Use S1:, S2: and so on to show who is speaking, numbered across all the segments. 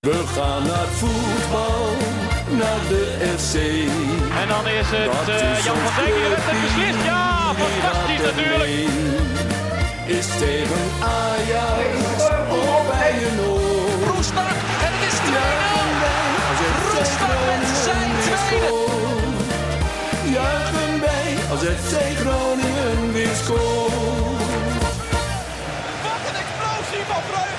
S1: We gaan naar voetbal, naar de FC.
S2: En dan is het eh, Jan van Dijk die heeft het beslist. Ja, fantastisch natuurlijk.
S1: Is tegen Ajax of bij een oor.
S3: Roestak en het is 2-0. Roestak met zijn tweede.
S1: Juichen wij als FC Groningen weer scoort.
S3: Wat een explosie van vreugde.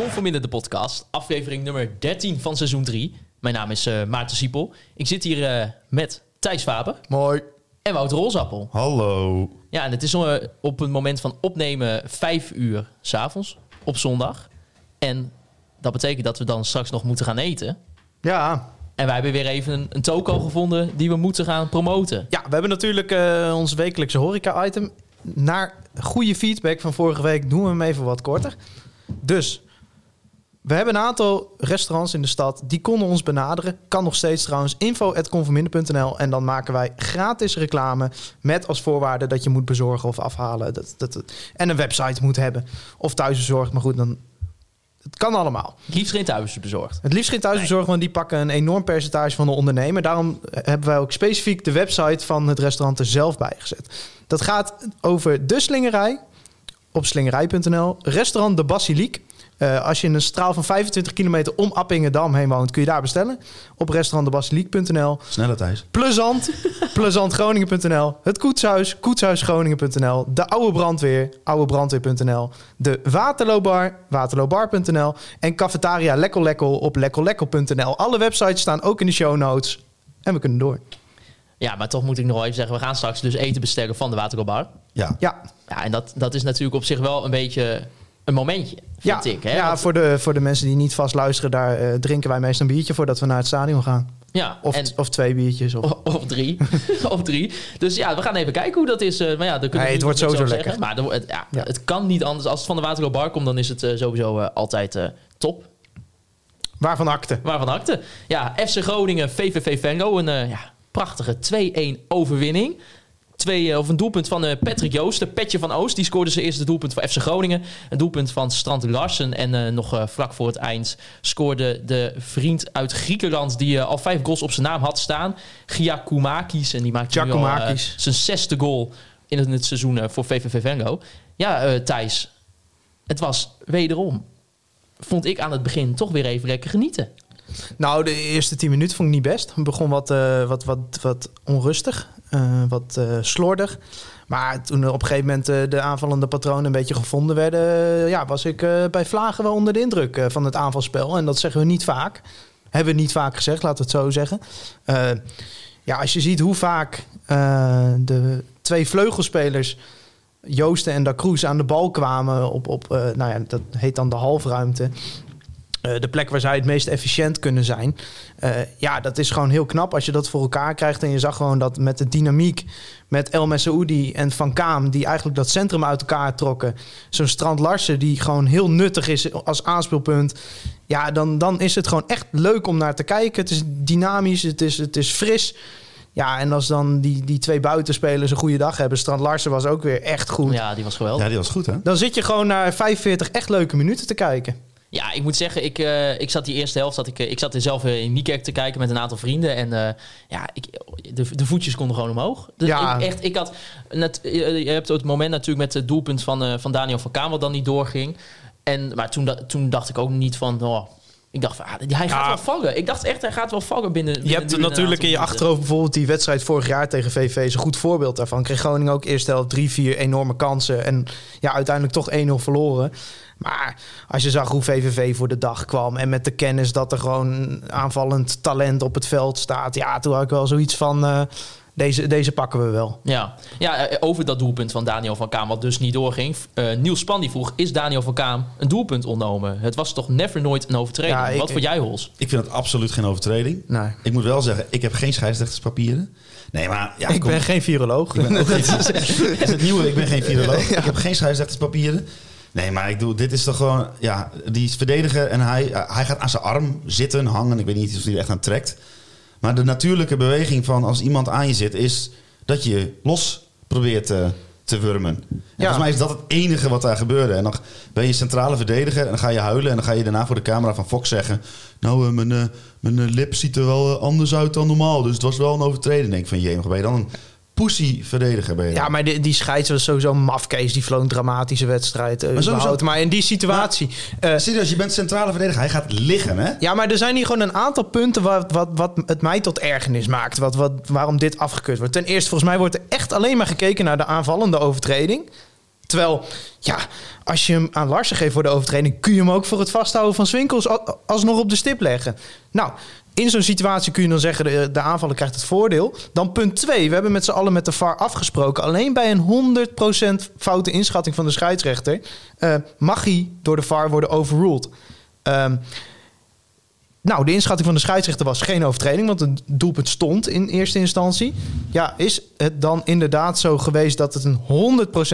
S4: Conform in de podcast, aflevering nummer 13 van seizoen 3. Mijn naam is eh, Maarten Siepel. Ik zit hier eh, met Thijs Faber
S5: Mooi.
S4: en Wouter Rolsappel.
S5: Hallo.
S4: Ja, en het is eh, op het moment van opnemen 5 uur s'avonds op zondag. En dat betekent dat we dan straks nog moeten gaan eten.
S5: Ja,
S4: En wij hebben weer even een, een toko gevonden die we moeten gaan promoten.
S5: ja we hebben natuurlijk eh, ons wekelijkse horeca-item. Naar goede feedback van vorige week doen we hem even wat korter. Dus, we hebben een aantal restaurants in de stad. Die konden ons benaderen. Kan nog steeds trouwens. info.conforminder.nl En dan maken wij gratis reclame. Met als voorwaarde dat je moet bezorgen of afhalen. Dat, dat, dat- en een website moet hebben. Of thuisbezorgd. Maar goed, dan... Het kan allemaal.
S4: Liefst geen thuis bezorgd.
S5: Het liefst geen thuisbezorg, want die pakken een enorm percentage van de ondernemer. Daarom hebben wij ook specifiek de website van het restaurant er zelf bij gezet. Dat gaat over de slingerij op slingerij.nl. Restaurant De Basiliek. Eh, als je in een straal van 25 kilometer om Appingedam heen woont, kun je daar bestellen. Op restaurantdebasiliek.nl.
S6: Sneller Thijs.
S5: Plezant, plezantgroningen.nl. Het Koetshuis, koetshuisgroningen.nl. De Oude Brandweer, oudebrandweer.nl. De Waterloobar, waterloobar.nl. En Cafetaria Lekkel Lekkel op lekkollekkel.nl. Alle websites staan ook in de show notes. En we kunnen door.
S4: Ja, maar toch moet ik nog wel even zeggen, we gaan straks dus eten bestellen van de Waterkoopbar.
S6: Ja.
S5: Ja,
S4: Ja, en dat, dat is natuurlijk op zich wel een beetje een momentje,
S5: ja.
S4: vind ik. Hè?
S5: ja
S4: Want-
S5: voor, de, voor de mensen die niet vast luisteren, daar eh, drinken wij meestal een biertje voordat we naar het stadion gaan.
S4: ja
S5: Of,
S4: en- Oh.
S5: of twee biertjes. Of,
S4: Of, of drie. of drie. Dus ja, we gaan even kijken hoe dat is. Eh, maar ja, dat kunnen
S5: Nee,
S4: we
S5: het wordt
S4: natuurlijk
S5: sowieso
S4: zeggen. Maar dan wo- het, ja,
S5: Ja.
S4: het kan niet anders. Als het van de Waterloo Bar komt, dan is het eh, sowieso eh, altijd eh, top.
S5: waarvan akte.
S4: Waarvan acte. Ja, FC Groningen, VVV Venlo. Een eh, ja, prachtige 2-1 overwinning. Twee, eh, of een doelpunt van eh, Patrick Joosten. Petje van Oost. Die scoorde zijn eerste doelpunt voor FC Groningen. Een doelpunt van Strand Larsen. En eh, nog eh, vlak voor het eind scoorde de vriend uit Griekenland. Die eh, al vijf goals op zijn naam had staan. Giacomakis. En die maakte nu al, eh,
S5: Giacomakis.
S4: zijn zesde goal in het, seizoen eh, voor VVV Venlo. Ja, eh, Thijs. Het was wederom, vond ik aan het begin, toch weer even lekker genieten.
S5: Nou, de eerste 10 minuten vond ik niet best. Het begon wat, eh, wat, wat, wat onrustig, eh, wat eh, slordig. Maar toen er op een gegeven moment eh, de aanvallende patronen een beetje gevonden werden, eh, ja, was ik eh, bij Vlagen wel onder de indruk eh, van het aanvalspel. En dat zeggen we niet vaak. Hebben we niet vaak gezegd, laten we het zo zeggen. Eh, ja, als je ziet hoe vaak eh, de twee vleugelspelers, Joosten en Da Cruz, aan de bal kwamen op, op eh, nou ja, dat heet dan de halfruimte. Eh, de plek waar zij het meest efficiënt kunnen zijn. Eh, ja, dat is gewoon heel knap als je dat voor elkaar krijgt. En je zag gewoon dat met de dynamiek met El Messaoudi en Van Kaam... die eigenlijk dat centrum uit elkaar trokken. Zo'n Strand Larsen die gewoon heel nuttig is als aanspeelpunt. Ja, dan, dan is het gewoon echt leuk om naar te kijken. Het is dynamisch, het is, het is fris. Ja, en als dan die, die twee buitenspelers een goede dag hebben... Strand Larsen was ook weer echt goed.
S4: Ja, die was geweldig.
S6: Ja,
S4: Ja,
S6: die was goed hè?
S5: Dan zit je gewoon naar 45 echt leuke minuten te kijken.
S4: ik moet zeggen, ik, eh, ik zat die eerste helft, zat ik, eh, ik zat er zelf eh, in Niekerk te kijken met een aantal vrienden. En eh, ja, ik, de, de voetjes konden gewoon omhoog. Dus
S5: Ja.
S4: ik, echt, ik had, net, eh, je hebt het moment natuurlijk met het doelpunt van, eh, van Daniel van Kamer wat dan niet doorging. En, maar toen, da- toen dacht ik ook niet van, oh, ik dacht van, ah, hij gaat
S5: Ja.
S4: wel vallen. Ik dacht echt, hij gaat wel vallen binnen
S5: Je
S4: binnen
S5: hebt
S4: nu een
S5: natuurlijk in
S4: aantal
S5: je
S4: minuten.
S5: achterhoofd bijvoorbeeld die wedstrijd vorig jaar tegen VV is een goed voorbeeld daarvan. Kreeg Groningen ook eerst helft drie, vier enorme kansen en ja, uiteindelijk toch 1-0 verloren. Maar als je zag hoe VVV voor de dag kwam en met de kennis dat er gewoon aanvallend talent op het veld staat, ja, toen had ik wel zoiets van eh, deze, deze pakken we wel.
S4: Ja. ja, eh, over dat doelpunt van Daniel van Kaam, wat dus niet doorging. Eh Niels Span die vroeg, is Daniel van Kaam een doelpunt ontnomen? Het was toch never nooit een overtreding?
S5: Ja, ik-
S4: wat voor jij, Hols?
S6: Ik vind het absoluut geen overtreding.
S5: Nee.
S6: Ik moet wel zeggen, ik heb geen scheidsrechterspapieren. Nee, maar ja,
S5: ik
S6: kom.
S5: ben geen viroloog.
S6: Ik ben ook geen, dat is het nieuwe, ik ben geen viroloog. Ik heb geen scheidsrechterspapieren. Nee, maar ik doe, dit is toch gewoon, ja, die is verdediger en hij, eh, hij gaat aan zijn arm zitten, hangen. Ik weet niet of hij er echt aan trekt. Maar de natuurlijke beweging van als iemand aan je zit, is dat je los probeert eh, te te wurmen. En Volgens mij is dat het enige wat daar gebeurde. En dan ben je centrale verdediger en dan ga je huilen... en dan ga je daarna voor de camera van Fox zeggen... nou, eh, mijn, eh, mijn eh, lip ziet er wel eh, anders uit dan normaal. Dus het was wel een overtreding. denk ik van, jee, ben je dan een pussy verdediger? Ben je
S5: Ja,
S6: dan?
S5: maar die, die scheids was sowieso een mafkees. Die vloog een dramatische wedstrijd. Maar,
S6: sowieso-
S5: maar in die situatie... eh,
S6: Serieus, je bent centrale verdediger. Hij gaat liggen, hè?
S5: Ja, maar er zijn hier gewoon een aantal punten wat, wat, wat het mij tot ergernis maakt. Wat, wat, waarom dit afgekeurd wordt. Ten eerste, volgens mij wordt er echt alleen maar gekeken naar de aanvallende overtreding. Terwijl, ja, als je hem aan Larsen geeft voor de overtreding... kun je hem ook voor het vasthouden van Swinkels a- alsnog op de stip leggen. Nou, in zo'n situatie kun je dan zeggen... de, de aanvaller krijgt het voordeel. Dan punt twee, we hebben met z'n allen met de VAR afgesproken... alleen bij een 100% foute inschatting van de scheidsrechter... eh, mag hij door de VAR worden overruled. Ehm nou, de inschatting van de scheidsrechter was geen overtreding, want het doelpunt stond in eerste instantie. Ja, is het dan inderdaad zo geweest dat het een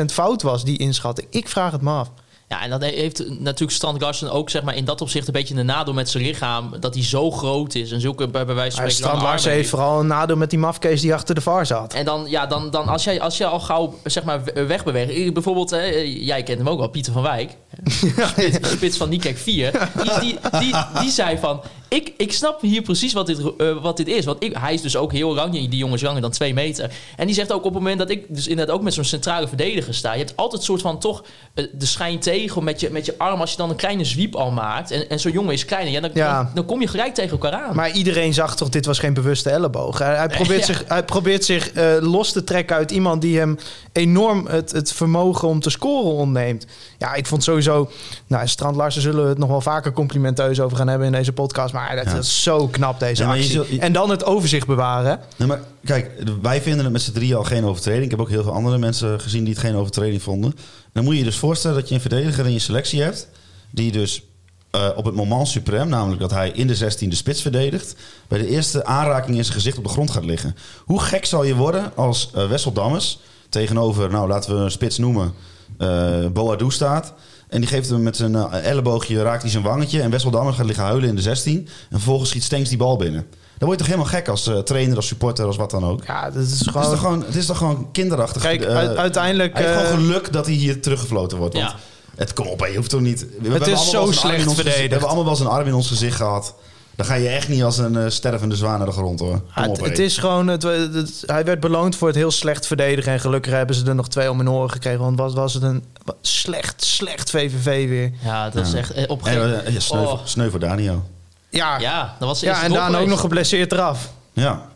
S5: 100% fout was, die inschatting? Ik vraag het me af.
S4: Ja, en dat heeft natuurlijk Strand Larsen ook zeg maar, in dat opzicht een beetje een nadeel met zijn lichaam. Dat hij zo groot is en zulke bij, bij wijze van spreken
S5: Maar Strand
S4: lange
S5: Larsen
S4: armen
S5: heeft vooral een nadeel met die mafkees die achter de VAR zat.
S4: En dan, ja, dan, dan als, jij, als jij al gauw zeg maar, we- wegbeweegt. Ik- Bijvoorbeeld, hè, eh, jij kent hem ook wel, Pieter van Wijk. Spits, spits van Nikek 4. Die, die, die, die zei van, ik, ik snap hier precies wat dit, eh, wat dit is. Want ik, hij is dus ook heel lang, die die jongen is langer dan 2 meter. En die zegt ook op het moment dat ik dus inderdaad ook met zo'n centrale verdediger sta. Je hebt altijd soort van toch eh, de schijn tegen met je, met je arm. Als je dan een kleine zwiep al maakt en, en zo'n jongen is kleiner. Ja, dan,
S5: Ja.
S4: Dan, dan kom je gelijk tegen elkaar aan.
S5: Maar iedereen zag toch, dit was geen bewuste elleboog. Hij, hij probeert
S4: Ja.
S5: zich, hij probeert zich eh, los te trekken uit iemand die hem enorm het, het vermogen om te scoren ontneemt. Ja, ik vond sowieso... Nou, Strand Larsen zullen we het nog wel vaker complimenteus over gaan hebben in deze podcast. Maar dat
S6: Ja.
S5: is zo knap, deze
S6: Ja, maar je
S5: actie.
S6: zult- je-
S5: En dan het overzicht bewaren. hè?
S6: Nee, maar kijk, wij vinden het met z'n drieën al geen overtreding. Ik heb ook heel veel andere mensen gezien die het geen overtreding vonden. Dan moet je je dus voorstellen dat je een verdediger in je selectie hebt... die dus eh, op het moment suprem, namelijk dat hij in de 16 de spits verdedigt... bij de eerste aanraking in zijn gezicht op de grond gaat liggen. Hoe gek zal je worden als eh Wessel Dammers tegenover, nou laten we een spits noemen, eh Boadou staat... En die geeft hem met zijn eh, elleboogje, raakt hij zijn wangetje. En Wessel Dammers gaat liggen huilen in de 16. En vervolgens schiet Stenks die bal binnen. Dan word je toch helemaal gek als eh, trainer, als supporter, als wat dan ook.
S5: Ja, dat is
S6: Het is
S5: gewoon...
S6: toch gewoon, het is toch gewoon kinderachtig.
S5: Kijk,
S6: Eh,
S5: uit- uiteindelijk,
S6: Hij heeft
S5: eh,
S6: gewoon geluk dat hij hier teruggefloten wordt. Want
S4: Ja.
S6: het kom op, hè, je hoeft toch niet. We- We,
S5: is
S6: allemaal
S5: zo
S6: wel eens een arm in
S5: slecht
S6: ons gezicht-
S5: verdedigd.
S6: We hebben allemaal wel eens een arm in ons gezicht gehad. Dan ga je echt niet als een eh, stervende zwaan naar de grond hoor. Kom
S5: Ja, Ah,
S6: op,
S5: het,
S6: hè.
S5: het is gewoon, het, het- hij werd beloond voor het heel slecht verdedigen. En gelukkig hebben ze er nog twee om hun oren gekregen. Want was, was het een wa- slecht, slecht VVV weer.
S4: ja, dat is echt eh, op een
S6: En,
S4: gegeven
S6: eh, ja, sneu,
S4: Oh.
S6: voor, sneu voor Daniel.
S5: Ja, ja,
S4: Ja, dat was de eerste
S5: en
S4: goal
S5: daarna ook
S4: geweest.
S5: nog geblesseerd eraf.
S4: Mm,
S6: Ja.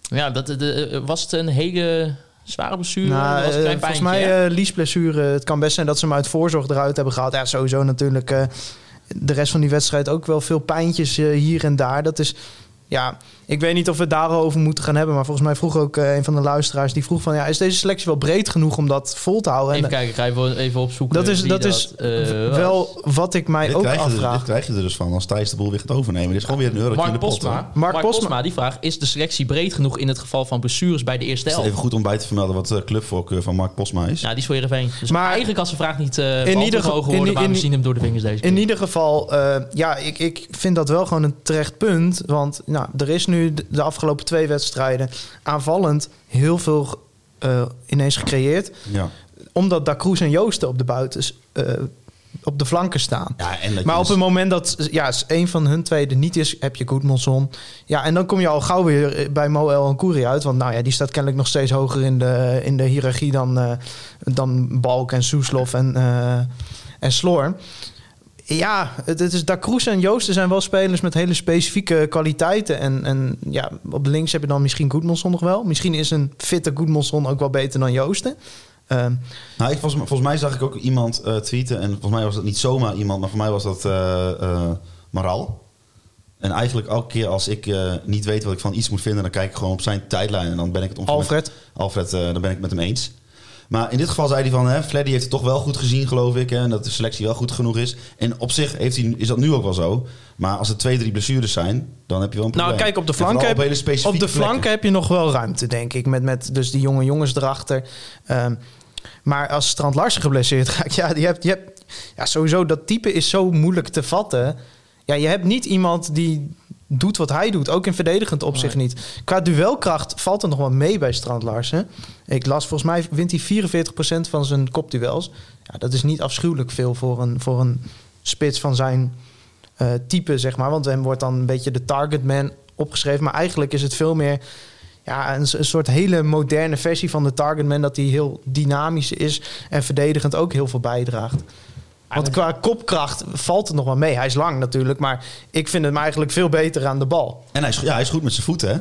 S4: Ja, dat, de, eh, was het een hele zware blessure?
S5: Nou,
S4: dat was een klein
S5: eh, volgens
S4: pijntje,
S5: mij
S4: hè?
S5: eh liesblessure. Het kan best zijn dat ze hem uit voorzorg eruit hebben gehaald. Ja, sowieso natuurlijk eh, de rest van die wedstrijd ook wel veel pijntjes eh, hier en daar. Dat is, ja, ik weet niet of we het daarover moeten gaan hebben. Maar volgens mij vroeg ook eh, een van de luisteraars, die vroeg van... Ja, is deze selectie wel breed genoeg om dat vol te houden? En
S4: even kijken, ik ga even, even opzoeken.
S5: eh, dat is,
S4: wie
S5: dat is
S4: eh, was.
S5: wel wat ik mij
S6: Dit
S5: ook
S6: krijg, je er,
S5: afvraag.
S6: dit krijg je er dus van als Thijs de boel weer gaat overnemen. Dit is gewoon weer een eurotje in de
S4: Mark
S6: pot.
S4: Postma.
S6: hoor.
S4: Mark,
S5: Postma.
S4: Postma. die vraag: Is de selectie breed genoeg in het geval van blessures bij de eerste
S6: Het is
S4: helft?
S6: even goed om bij te vermelden wat de clubvoorkeur van Mark Postma is.
S4: Nou, die is voor Heerenveen. Dus
S5: Maar-
S4: maar eigenlijk als de vraag niet eh
S5: ieder
S4: in
S5: geval-
S4: ieder mogen
S5: in
S4: worden,
S5: i-
S4: maar
S5: in
S4: we
S5: i-
S4: zien hem door de vingers deze keer.
S5: In ieder geval, eh, ja, ik, ik vind dat wel gewoon een terecht punt. Want nou, er is nu de, de afgelopen twee wedstrijden aanvallend heel veel eh, ineens gecreëerd.
S6: Ja.
S5: Omdat Da Cruz en Joosten op de buitens, eh, op de flanken staan.
S6: Ja, en dat je
S5: Maar op
S6: dus-
S5: het moment dat ja, een van hun twee er niet is, heb je Goodmanson. Ja, en dan kom je al gauw weer eh, bij Moel en Koeri uit. Want nou ja, die staat kennelijk nog steeds hoger in de, in de hiërarchie dan, eh, dan Balk en Soeslof en, eh, en Sloor. Ja, het, het is Da Cruz en Joosten zijn wel spelers met hele specifieke kwaliteiten. En, en ja, op links heb je dan misschien Goodmanson nog wel. Misschien is een fitte Goodmanson ook wel beter dan Joosten. Ehm,
S6: Nou, ik, volgens, volgens mij zag ik ook iemand eh, tweeten. En volgens mij was dat niet zomaar iemand, maar voor mij was dat eh, eh, Maral. En eigenlijk elke keer als ik eh, niet weet wat ik van iets moet vinden, dan kijk ik gewoon op zijn tijdlijn. En dan ben ik het ongeveer met-
S5: Alfred.
S6: Alfred, eh, dan ben ik het met hem eens. Maar in dit geval zei hij van, hè, Fleddy heeft het toch wel goed gezien, geloof ik. Hè, en dat de selectie wel goed genoeg is. En op zich heeft hij, is dat nu ook wel zo. Maar als er twee, drie blessures zijn, dan heb je wel een
S5: Nou,
S6: probleem.
S5: kijk, op de
S6: En vooral
S5: flanken,
S6: Op, hele
S5: heb,
S6: specifieke
S5: op de
S6: plekken.
S5: flanken heb je nog wel ruimte, denk ik. Met, met dus die jonge jongens erachter. Ehm, maar als Strand Larsen geblesseerd raakt, ja, die hebt, je hebt, ja, sowieso dat type is zo moeilijk te vatten. Ja, je hebt niet iemand die doet wat hij doet. Ook in verdedigend opzicht niet. Qua duelkracht valt het nog wel mee bij Strand Larsen. Ik las, volgens mij wint hij 44% van zijn kopduels. Ja, dat is niet afschuwelijk veel voor een, voor een spits van zijn eh, type, zeg maar. Want hem wordt dan een beetje de target man opgeschreven. Maar eigenlijk is het veel meer ja, een, s- een soort hele moderne versie van de target man. Dat hij heel dynamisch is en verdedigend ook heel veel bijdraagt. Want qua kopkracht valt het nog wel mee. Hij is lang natuurlijk, maar ik vind hem eigenlijk veel beter aan de bal.
S6: En hij is, ja, hij is goed met zijn voeten, hè?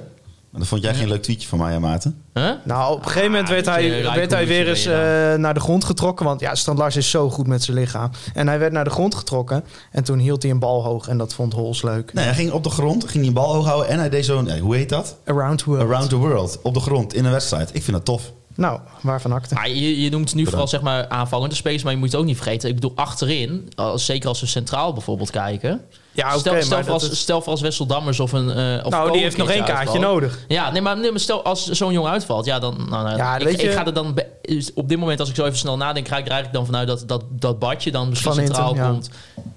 S6: Maar dat vond jij geen leuk tweetje van mij, hè, Maarten.
S4: Huh?
S5: Nou, op een gegeven moment werd
S4: dat je
S5: hij,
S4: Rijkovic
S5: werd hij weer
S4: erin
S5: eens eh, naar de grond getrokken. Want ja, Strand Lars is zo goed met zijn lichaam. En hij werd naar de grond getrokken. En toen hield hij een bal hoog. En dat vond Hols leuk.
S6: Nee, Nou hij ging op de grond, ging die een bal hoog houden en hij deed zo'n, nee, hoe heet dat?
S5: Around the world.
S6: Around the world, op de grond, in een wedstrijd. Ik vind dat tof.
S5: Nou, waarvan acte?
S4: Maar je, je noemt nu vooral zeg maar, aanvallende spelers, maar je moet het ook niet vergeten. Ik bedoel, achterin, als, zeker als we centraal bijvoorbeeld kijken.
S5: Ja, oké,
S4: stel,
S5: maar
S4: stel,
S5: dat
S4: voor als,
S5: is-
S4: stel voor als Wessel Dammers of een. eh, of
S5: Nou,
S4: Kool
S5: die
S4: een
S5: heeft nog één
S4: keertje
S5: kaartje
S4: uitvalt.
S5: nodig.
S4: Ja, nee, maar, nee, maar stel als zo'n jong uitvalt, ja, dan. Nou, nou,
S5: Ja,
S4: ik,
S5: weet je-
S4: ik ga er dan. be- is- Op dit moment, als ik zo even snel nadenk, ga ik er eigenlijk dan vanuit dat dat, dat Badje dan misschien
S5: Van
S4: centraal
S5: Inter, ja.
S4: komt.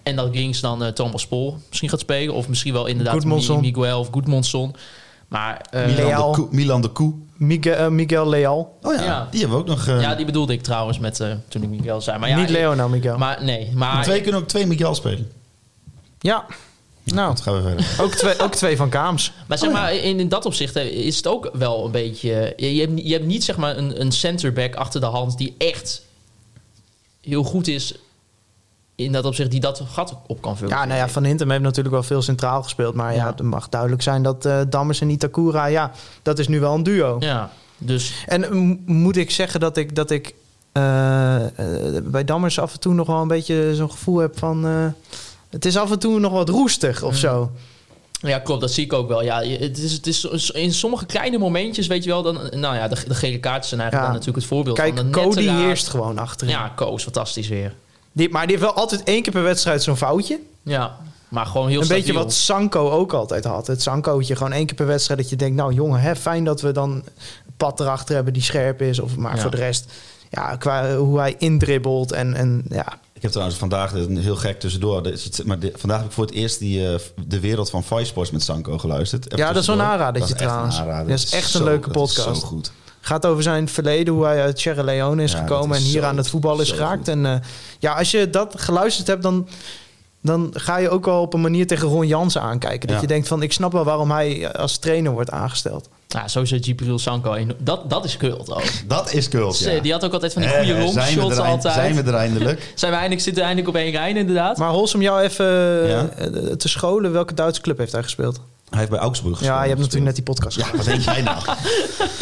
S4: En dat Gings dan eh, Thomas Pol misschien gaat spelen. Of misschien wel inderdaad Mi-
S5: Goedmondson.
S4: Miguel of Goedmondson. Maar. eh,
S6: Milan
S5: Leao.
S6: de, Koe, Milan de Koe.
S5: Miguel, eh, Miguel Leal.
S6: Oh ja,
S4: Ja.
S6: die hebben we ook nog. eh,
S4: ja, die bedoelde ik trouwens met eh, toen ik Miguel zei. Maar ja,
S5: Niet Leo, nou Miguel.
S4: Maar nee, maar
S6: Twee kunnen ook twee Miguel spelen.
S5: Ja, nou,
S6: Dat gaan we verder.
S5: ook twee, ook twee van Kaams.
S4: Maar zeg maar, in, in dat opzicht hè, is het ook wel een beetje... eh, Je, je, hebt, ni- je hebt niet zeg maar een, een centerback achter de hand die echt heel goed is in dat opzicht, die dat gat op kan vullen.
S5: Ja, nou ja, Van Hintem heeft natuurlijk wel veel centraal gespeeld. Maar ja,
S4: Ja.
S5: het mag duidelijk zijn dat eh, Dammers en Itakura... Ja, dat is nu wel een duo.
S4: Ja, dus
S5: En eh, m- moet ik zeggen dat ik, dat ik eh, eh, bij Dammers af en toe nog wel een beetje zo'n gevoel heb van... eh, het is af en toe nog wat roestig of zo.
S4: nou ja, klopt, dat zie ik ook wel. Ja, je- het is, het is in sommige kleine momentjes, weet je wel, dan, nou ja, de, de gele kaarten zijn eigenlijk
S5: Ja.
S4: dan natuurlijk het voorbeeld van
S5: Kijk,
S4: een nette
S5: Cody
S4: raak.
S5: heerst gewoon achterin.
S4: Ja, Koos, fantastisch weer.
S5: Die, maar die heeft wel altijd één keer per wedstrijd zo'n foutje.
S4: Ja, maar gewoon heel
S5: Een
S4: stabiel.
S5: beetje wat Sanko ook altijd had. Het Sankootje, gewoon één keer per wedstrijd dat je denkt... nou jongen, hè, fijn dat we dan een pad erachter hebben die scherp is. Of, maar
S4: Ja.
S5: voor de rest, ja, qua hoe hij indribbelt en, en ja...
S6: Ik heb trouwens vandaag een heel gek tussendoor. dit is het- Maar dit- vandaag heb ik voor het eerst die, eh, de wereld van Five Sports met Sanko geluisterd. Even
S5: Ja, dat is wel een
S6: tussendoor.
S5: aanradertje
S6: Dat is echt een
S5: trouwens.
S6: aanrader.
S5: Dat is echt een leuke
S6: dat is
S5: podcast.
S6: zo goed.
S5: Gaat over zijn verleden, hoe hij uit Sierra Leone is
S6: Ja,
S5: gekomen
S6: dat is
S5: en hier
S6: zo-
S5: aan het voetbal is
S6: zo
S5: geraakt.
S6: goed.
S5: En eh, ja, als je dat geluisterd hebt, dan, dan ga je ook wel op een manier tegen Ron Jansen aankijken. Dat
S6: Ja.
S5: je denkt van, ik snap wel waarom hij als trainer wordt aangesteld.
S4: Ja, sowieso Gibril Sanko, en dat, dat is kult ook.
S6: Dat is cult, ja.
S4: Die had ook altijd van die
S6: Eh,
S4: goede
S6: zijn we
S4: rongshots
S6: er eind-
S4: altijd.
S6: Zijn we er eindelijk?
S4: Zijn we eindelijk, zitten we eindelijk op één rij, inderdaad.
S5: Maar Holsom, jou even
S6: Ja.
S5: eh, te scholen, welke Duitse club heeft hij gespeeld?
S6: Hij heeft bij Augsburg gespeeld.
S5: ja, je hebt natuurlijk net die podcast
S6: Ja, wat denk jij nou?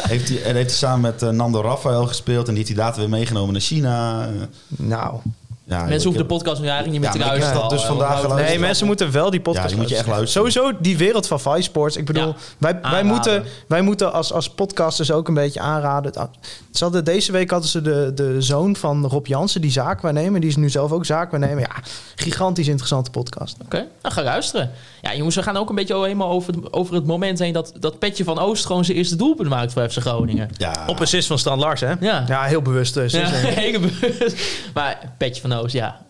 S6: heeft hij, en heeft hij samen met eh, Nando Rafael gespeeld en die heeft hij later weer meegenomen naar China. Eh,
S5: gedaan. Nou,
S6: Ja,
S4: Mensen
S6: ik
S4: hoeven de
S6: heb-
S4: podcast nu eigenlijk niet meer
S6: Ja,
S4: te
S6: maar ik heb
S4: luisteren.
S6: dat dus
S4: al,
S6: vandaag
S4: eh, want-
S6: geluisterd.
S5: nee,
S6: je
S5: mensen moeten wel die podcast
S6: Ja, die moet je echt luisteren.
S5: Sowieso die wereld van Vice Sports. Ik bedoel,
S4: Ja,
S5: wij, wij
S4: aanraden.
S5: moeten, wij moeten als, als podcasters ook een beetje aanraden. Ze hadden, deze week hadden ze de, de zoon van Rob Jansen, die zaakwaarnemer. Die is nu zelf ook zaakwaarnemer. Ja, gigantisch interessante podcast.
S4: Oké, nou ga luisteren. Ja, jongens, we gaan ook een beetje helemaal over, over het moment heen dat, dat Petje van Oost gewoon zijn eerste doelpunt maakt voor FC Groningen.
S6: Ja,
S5: Op assist van Stan Lars, hè?
S4: Ja.
S5: Ja, heel bewust dus.
S4: Ja,
S5: Ja,
S4: hele bewust. Maar Petje van Oost, ja.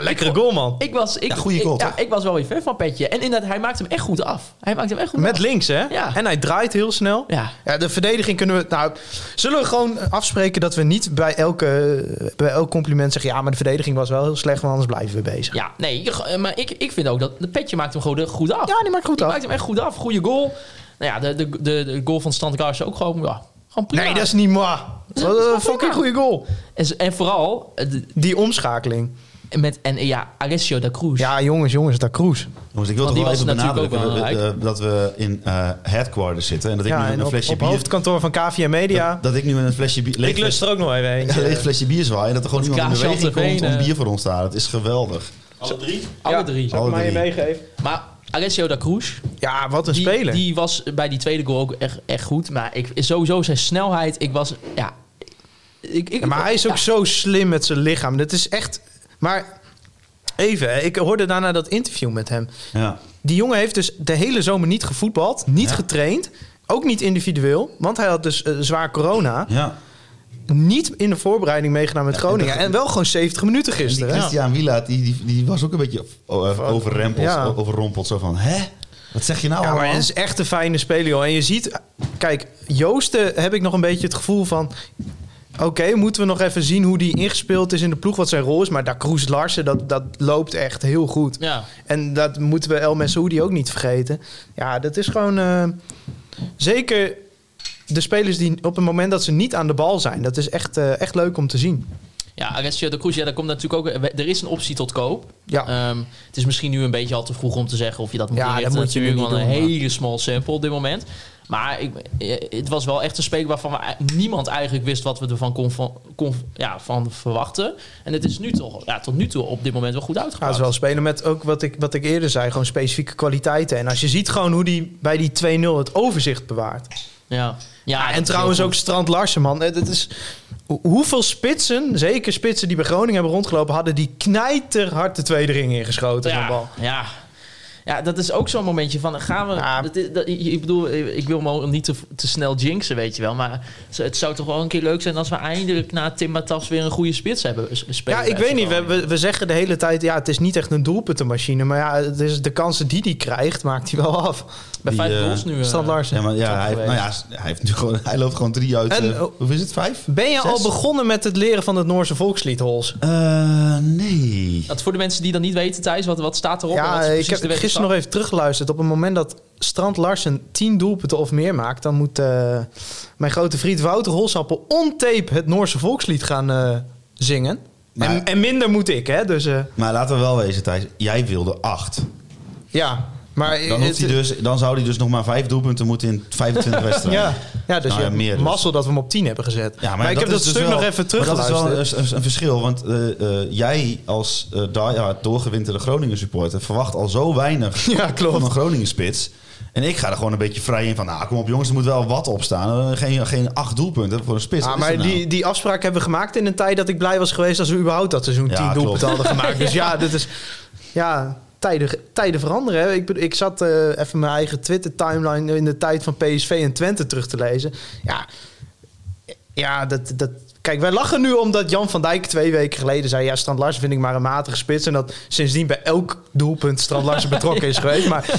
S5: lekkere goal, man.
S4: Ik was, ik,
S6: Ja, goeie goal,
S4: ik, ja,
S6: toch?
S4: ik was wel weer fan van Petje. En inderdaad, hij maakt hem echt goed af. Hij maakt hem echt goed
S5: Met
S4: af.
S5: links, hè?
S4: Ja.
S5: En hij draait heel snel.
S4: Ja.
S5: Ja, de verdediging kunnen we. Nou, zullen we gewoon afspreken dat we niet bij, elke, bij elk compliment zeggen. Ja, maar de verdediging was wel heel slecht, want anders blijven we bezig.
S4: Ja, nee, je- maar ik, ik vind ook dat de Petje maakt hem gewoon goed af.
S5: Ja, die maakt goed
S4: Die
S5: af.
S4: maakt hem echt goed af. Goede goal. Nou ja, de, de, de, de goal van Stant Garcia ook gewoon, ja, gewoon prima.
S5: Nee, dat is niet maar. Wat
S4: is wel
S5: een fucking
S4: prima.
S5: goede goal.
S4: En, en vooral eh, de-
S5: Die omschakeling.
S4: met en, eh, ja, Alessio da Cruz.
S5: Ja, jongens, jongens, dat Kroes.
S6: Jongens, ik wil
S4: Want
S6: toch wel
S4: die
S6: even
S4: was natuurlijk
S6: benadrukken
S4: ook
S6: dat
S4: wel
S6: we- eh, dat we in eh headquarters zitten. En dat ik
S5: Ja,
S6: nu met
S5: en
S6: een
S5: op,
S6: flesje
S5: op
S6: bier...
S5: hoofdkantoor van KVM Media.
S6: dat, dat ik nu met een flesje bier... leeg
S5: ik lust
S6: flesje-
S5: er ook nog even
S6: ja,
S5: eentje.
S6: leeg flesje bier zwaai. En dat er gewoon
S4: Met
S6: iemand in
S4: kaas,
S6: beweging
S4: champagne,
S6: komt om
S4: eh.
S6: bier voor ons te halen. Het is geweldig.
S4: Alle
S5: Ja.
S4: drie.
S6: Alle
S5: Maar je
S6: drie.
S5: meegeven.
S4: Maar Alessio da Cruz,
S5: Ja, wat een
S4: die,
S5: speler.
S4: die was bij die tweede goal ook echt, echt goed. Maar ik, sowieso zijn snelheid, ik was, ja... Ik, ik,
S5: Ja, maar hij is ook
S4: ja,
S5: zo slim met zijn lichaam. Dat is echt... Maar even, hè, ik hoorde daarna dat interview met hem.
S6: Ja.
S5: Die jongen heeft dus de hele zomer niet gevoetbald, niet
S6: Ja.
S5: getraind. Ook niet individueel, want hij had dus eh, zwaar corona.
S6: ja.
S5: Niet in de voorbereiding meegedaan met Groningen. En wel gewoon 70 minuten
S6: Die
S5: gisteren. hè?
S6: Christian Wielaert, die, die, die was ook een beetje oh, eh, overrempeld,
S5: Ja.
S6: o- overrompeld. Zo van, hè? Wat zeg je nou
S5: Ja, maar
S6: allemaal?
S5: het is echt een fijne speler, joh. En je ziet, kijk, Joosten heb ik nog een beetje het gevoel van... Oké, moeten we nog even zien hoe die ingespeeld is in de ploeg, wat zijn rol is. Maar daar Kroes Larsen, dat, dat loopt echt heel goed.
S4: Ja.
S5: En dat moeten we El Messoudi ook niet vergeten. Ja, dat is gewoon... eh, zeker de spelers die op het moment dat ze niet aan de bal zijn. Dat is echt, eh, echt leuk om te zien.
S4: Ja, Arezzo de Cruz, ja, daar komt natuurlijk ook... Er is een optie tot koop.
S5: Ja.
S4: Ehm, het is misschien nu een beetje al te vroeg om te zeggen of je dat moet
S5: Ja, dat
S4: inrichten.
S5: moet je nu
S4: natuurlijk,
S5: niet
S4: want een
S5: doen, maar-
S4: hele small sample op dit moment. Maar ik, eh, het was wel echt een speler waarvan we, ei- niemand eigenlijk wist wat we ervan kon, van, kon, ja, van verwachten. En het is nu toch, ja, tot nu toe op dit moment wel goed
S5: Ja, het
S4: uitgepakt.
S5: is wel spelen met ook wat ik, wat ik eerder zei. Gewoon specifieke kwaliteiten. En als je ziet gewoon hoe die bij die 2-0 het overzicht bewaart.
S4: ja. Ja, dat
S5: en
S4: is
S5: trouwens
S4: heel
S5: ook
S4: goed.
S5: Strand Larsen, man. Eh, Dat is, ho- hoeveel spitsen, zeker spitsen die bij Groningen hebben rondgelopen... hadden die knijterhard de tweede ring ingeschoten van
S4: Ja,
S5: bal.
S4: ja. ja, dat is ook zo'n momentje van gaan we.
S5: Ja.
S4: dat is- dat- ik bedoel, ik wil me ook niet te, te snel jinxen, weet je wel. Maar het zou toch wel een keer leuk zijn als we eindelijk na Tim Matas weer een goede spits hebben. Spelen
S5: Ja, ik weet niet. We, we, we zeggen de hele tijd, ja, het is niet echt een doelpuntenmachine. Maar ja, het is de kansen die hij krijgt, maakt hij wel af.
S4: Bij vijf
S6: Die, eh,
S4: goals nu. eh,
S5: Strand Larsen.
S6: Ja, maar ja, hij, heeft-
S4: geweest.
S6: nou ja, hij, heeft nu gewoon, hij loopt gewoon drie uit.
S5: En,
S6: eh,
S5: oh.
S6: hoeveel is het? Vijf?
S5: Ben je
S6: Zes?
S5: al begonnen met het leren van het Noorse volkslied, Hols?
S6: Eh, nee.
S4: Dat voor de mensen die dat niet weten, Thijs, wat, wat staat erop? en wat
S5: Ja,
S4: is
S5: ik
S4: precies
S5: heb
S4: de wetenschap?
S5: gisteren nog even teruggeluisterd. Op het moment dat Strand Larsen 10 doelpunten of meer maakt, dan moet eh, mijn grote vriend Wouter Holsappel on tape het Noorse volkslied gaan eh, zingen.
S6: Maar-
S5: en, en minder moet ik, hè? Dus eh,
S6: Maar laten we wel wezen, Thijs. Jij wilde acht.
S5: ja. Maar
S6: Dan, hoeft
S5: het-
S6: hij dus, dan zou hij dus nog maar vijf doelpunten moeten in 25 wedstrijden.
S5: ja, ja, dus
S6: Nou ja,
S5: je
S6: meer dus.
S5: mazzel dat we hem op 10 hebben gezet.
S6: Ja,
S5: maar ik heb
S6: is
S5: dat
S6: dus
S5: stuk
S6: wel-
S5: nog even
S6: maar
S5: teruggeluisterd.
S6: Dat is wel een, een- een verschil, want eh, eh, jij als eh diehard doorgewinterde Groningen supporter verwacht al zo weinig
S5: Ja, klopt.
S6: van een Groningen spits. En ik ga er gewoon een beetje vrij in van, nou kom op jongens, er moet wel wat opstaan. Eh, Geen, geen acht doelpunten voor een spits.
S5: Ah,
S6: Wat is
S5: maar
S6: dat nou?
S5: die, die afspraak hebben we gemaakt in een tijd dat ik blij was geweest als we überhaupt dat seizoen
S6: Ja,
S5: 10 doelpunten
S6: klopt.
S5: hadden gemaakt. Dus ja, dit is. Ja, tijden, tijden veranderen. Hè. Ik, bedoel, ik zat eh, even mijn eigen Twitter-timeline in de tijd van PSV en Twente terug te lezen. Ja, ja dat, dat. Kijk, wij lachen nu omdat Jan van Dijk twee weken geleden zei: Ja, Strand Larsen vind ik maar een matige spits. En dat sindsdien bij elk doelpunt Strand Larsen betrokken is geweest. Maar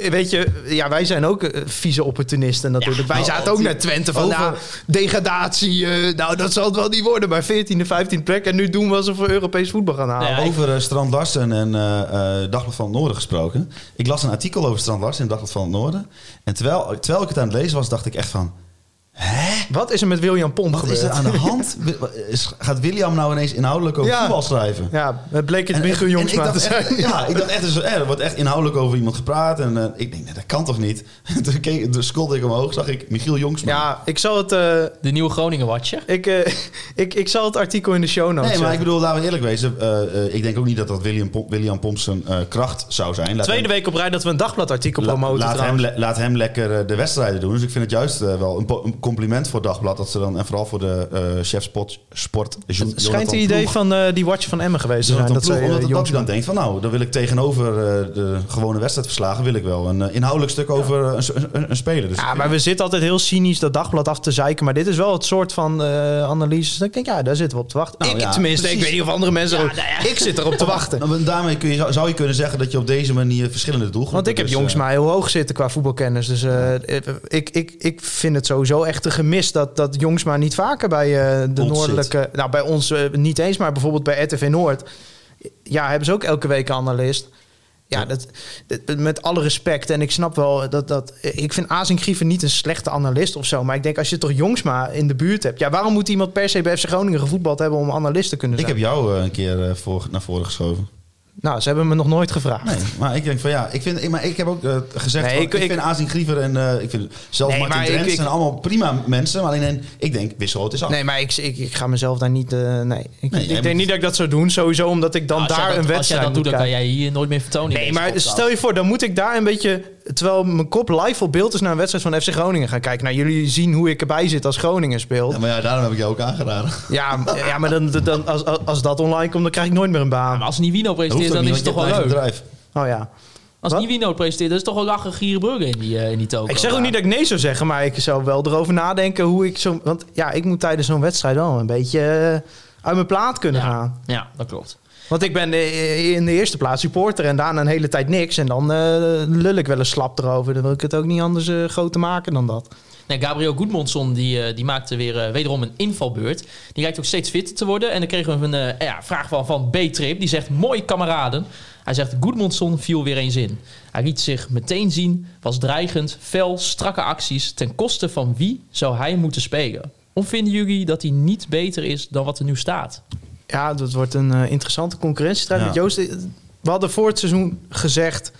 S5: eh, weet je, ja, wij zijn ook eh, vieze opportunisten natuurlijk. wij zaten ook naar Twente van
S6: Over-
S5: nou, degradatie. eh, nou, dat zal het wel niet worden. Maar 14e, 15e plek. En nu doen we alsof we Europees voetbal gaan halen.
S4: Nou ja, ik-
S6: Over eh, Strand Larsen en eh eh, Dagblad van het Noorden gesproken. Ik las een artikel over Strand Larsen in Dagblad van het Noorden. En terwijl, terwijl ik het aan het lezen was, dacht ik echt van...
S5: Wat is er met William Pomp
S6: Wat
S5: gebeurd?
S6: is er aan de hand? Is- Gaat William nou ineens inhoudelijk over
S5: Ja.
S6: voetbal schrijven?
S5: Ja, het bleek het
S6: En-
S5: Michiel
S6: en- en ik
S5: Jongsma te
S6: dacht
S5: zijn.
S6: echt- Ja, ik dacht echt, dus, eh, er wordt echt inhoudelijk over iemand gepraat. En eh, ik denk, nee, dat kan toch niet? Toen, keek, toen scrolde ik omhoog, zag ik Michiel Jongsma.
S5: Ja, ik zal het... eh,
S4: De nieuwe Groningen Watcher.
S5: ik, eh, ik, ik zal het artikel in de show notes
S6: Nee, maar ik
S5: zetten.
S6: bedoel, laten we eerlijk wezen. eh, eh, ik denk ook niet dat dat William, Pom- William Pomp zijn eh, kracht zou zijn. Laat
S5: Tweede
S6: hem-
S5: week op rij dat we een dagbladartikel
S6: la-
S5: promoten
S6: laat, hem,
S5: trouwens.
S6: le- laat hem lekker eh, de wedstrijden doen. Dus ik vind het juist eh, wel een, po- een compliment voor Dagblad. Dat ze dan, en vooral voor de eh chef sport, sport Jo-
S5: Het schijnt
S6: Jonathan
S5: het idee
S6: Ploeg.
S5: van eh, die watch van Emmen geweest te zijn.
S6: Jonathan
S5: Dat
S6: Ploeg,
S5: zei
S6: omdat
S5: eh,
S6: dat dat je
S5: Jongsma.
S6: dan denkt van nou, dan wil ik tegenover eh, de gewone wedstrijdverslagen wil ik wel een eh, inhoudelijk stuk over eh, een, s- een, een speler. Dus
S5: Ja, maar we zitten altijd heel cynisch dat dagblad af te zeiken. Maar dit is wel het soort van eh analyse. Dat ik denk, ja, daar zitten we op te wachten.
S6: Nou
S5: ik
S6: ja,
S5: tenminste,
S6: precies.
S5: ik weet niet of andere mensen... ook- Ik zit erop te wachten.
S6: Nou, en daarmee kun je, zou- zou je kunnen zeggen dat je op deze manier verschillende doelgroepen...
S5: Want ik heb
S6: dus,
S5: jongens
S6: eh,
S5: maar heel hoog zitten qua voetbalkennis. Dus eh, ik, ik, ik vind het sowieso echt een gemis dat, dat jongens maar niet vaker bij eh, de
S6: Ons
S5: noordelijke... Nou, bij ons eh, niet eens, maar bijvoorbeeld bij RTV Noord. Ja, hebben ze ook elke week een analist. Ja, dat, dat- met alle respect. En ik snap wel dat... dat eh, ik vind Azing Grieven niet een slechte analist of zo. Maar ik denk, als je toch Jongsma in de buurt hebt... Ja, waarom moet iemand per se bij FC Groningen gevoetbald hebben... om analist te kunnen
S6: Ik
S5: zijn?
S6: heb jou eh, een keer eh, voor, naar voren geschoven.
S5: Nou, ze hebben me nog nooit gevraagd.
S6: Nee, maar ik denk van ja, ik, vind, ik- maar ik heb ook eh, gezegd,
S5: Nee,
S6: van, ik,
S5: ik- ik-
S6: vind Azing Griever en eh, ik vind zelfs
S5: Nee,
S6: Martin
S5: maar ik-
S6: Drents
S5: ik-
S6: zijn allemaal prima mensen. Maar alleen ik denk, wissel het is
S4: Oh.
S6: af.
S5: Nee, maar ik, ik, ik ga mezelf daar niet. eh, nee, ik,
S6: jij
S5: ik
S6: moet-
S5: denk niet dat ik dat zou doen. Sowieso omdat ik dan
S4: Als jij
S5: daar
S4: dat-
S5: een
S4: Als jij
S5: wedstrijd
S4: dat doet,
S5: moet
S4: dan kan
S5: kijken.
S4: jij hier nooit meer vertonen. in
S5: Nee,
S4: deze
S5: maar
S4: podcast.
S5: stel je voor, dan moet ik daar een beetje. Terwijl mijn kop live op beeld is naar een wedstrijd van FC Groningen gaan kijken. Nou, jullie zien hoe ik erbij zit als Groningen speelt.
S6: Ja, maar ja, daarom heb ik jou ook aangeraden.
S5: Ja, m- ja maar dan, dan, als, als- als dat online komt, dan krijg ik nooit meer een baan.
S4: Maar als Nivino
S6: Dat hoeft
S4: presenteert, dan
S6: ook niet,
S4: is het toch
S6: want je
S4: wel
S6: hebt
S4: leuk.
S6: een eigen
S5: Oh
S6: bedrijf.
S5: ja.
S4: Als
S5: Wat?
S4: Nivino presenteert, dan is toch wel lachen gierenburger in die, eh, in die toko.
S5: Ik zeg ook niet dat ik nee zou zeggen, maar ik zou wel erover nadenken hoe ik zo. Want ja, ik moet tijdens zo'n wedstrijd wel een beetje eh, uit mijn plaat kunnen gaan.
S4: Ja, dat klopt.
S5: Want ik ben eh, in de eerste plaats supporter en daarna een hele tijd niks. En dan eh, lul ik wel eens slap erover. Dan wil ik het ook niet anders eh groter maken dan dat.
S4: Nee, Gabriel Goedmondson die, eh, die maakte weer eh, wederom een invalbeurt. Die lijkt ook steeds fitter te worden. En dan kregen we een eh, ja, vraag van, van B-Trip. Die zegt, mooi kameraden. Hij zegt, Goedmondson viel weer eens in. Hij liet zich meteen zien, was dreigend, fel, strakke acties. Ten koste van wie zou hij moeten spelen? Of vinden jullie dat hij niet beter is dan wat er nu staat?
S5: Ja, dat wordt een eh, interessante concurrentiestrijd
S6: Ja.
S5: met Joost. eh, We hadden voor het seizoen gezegd,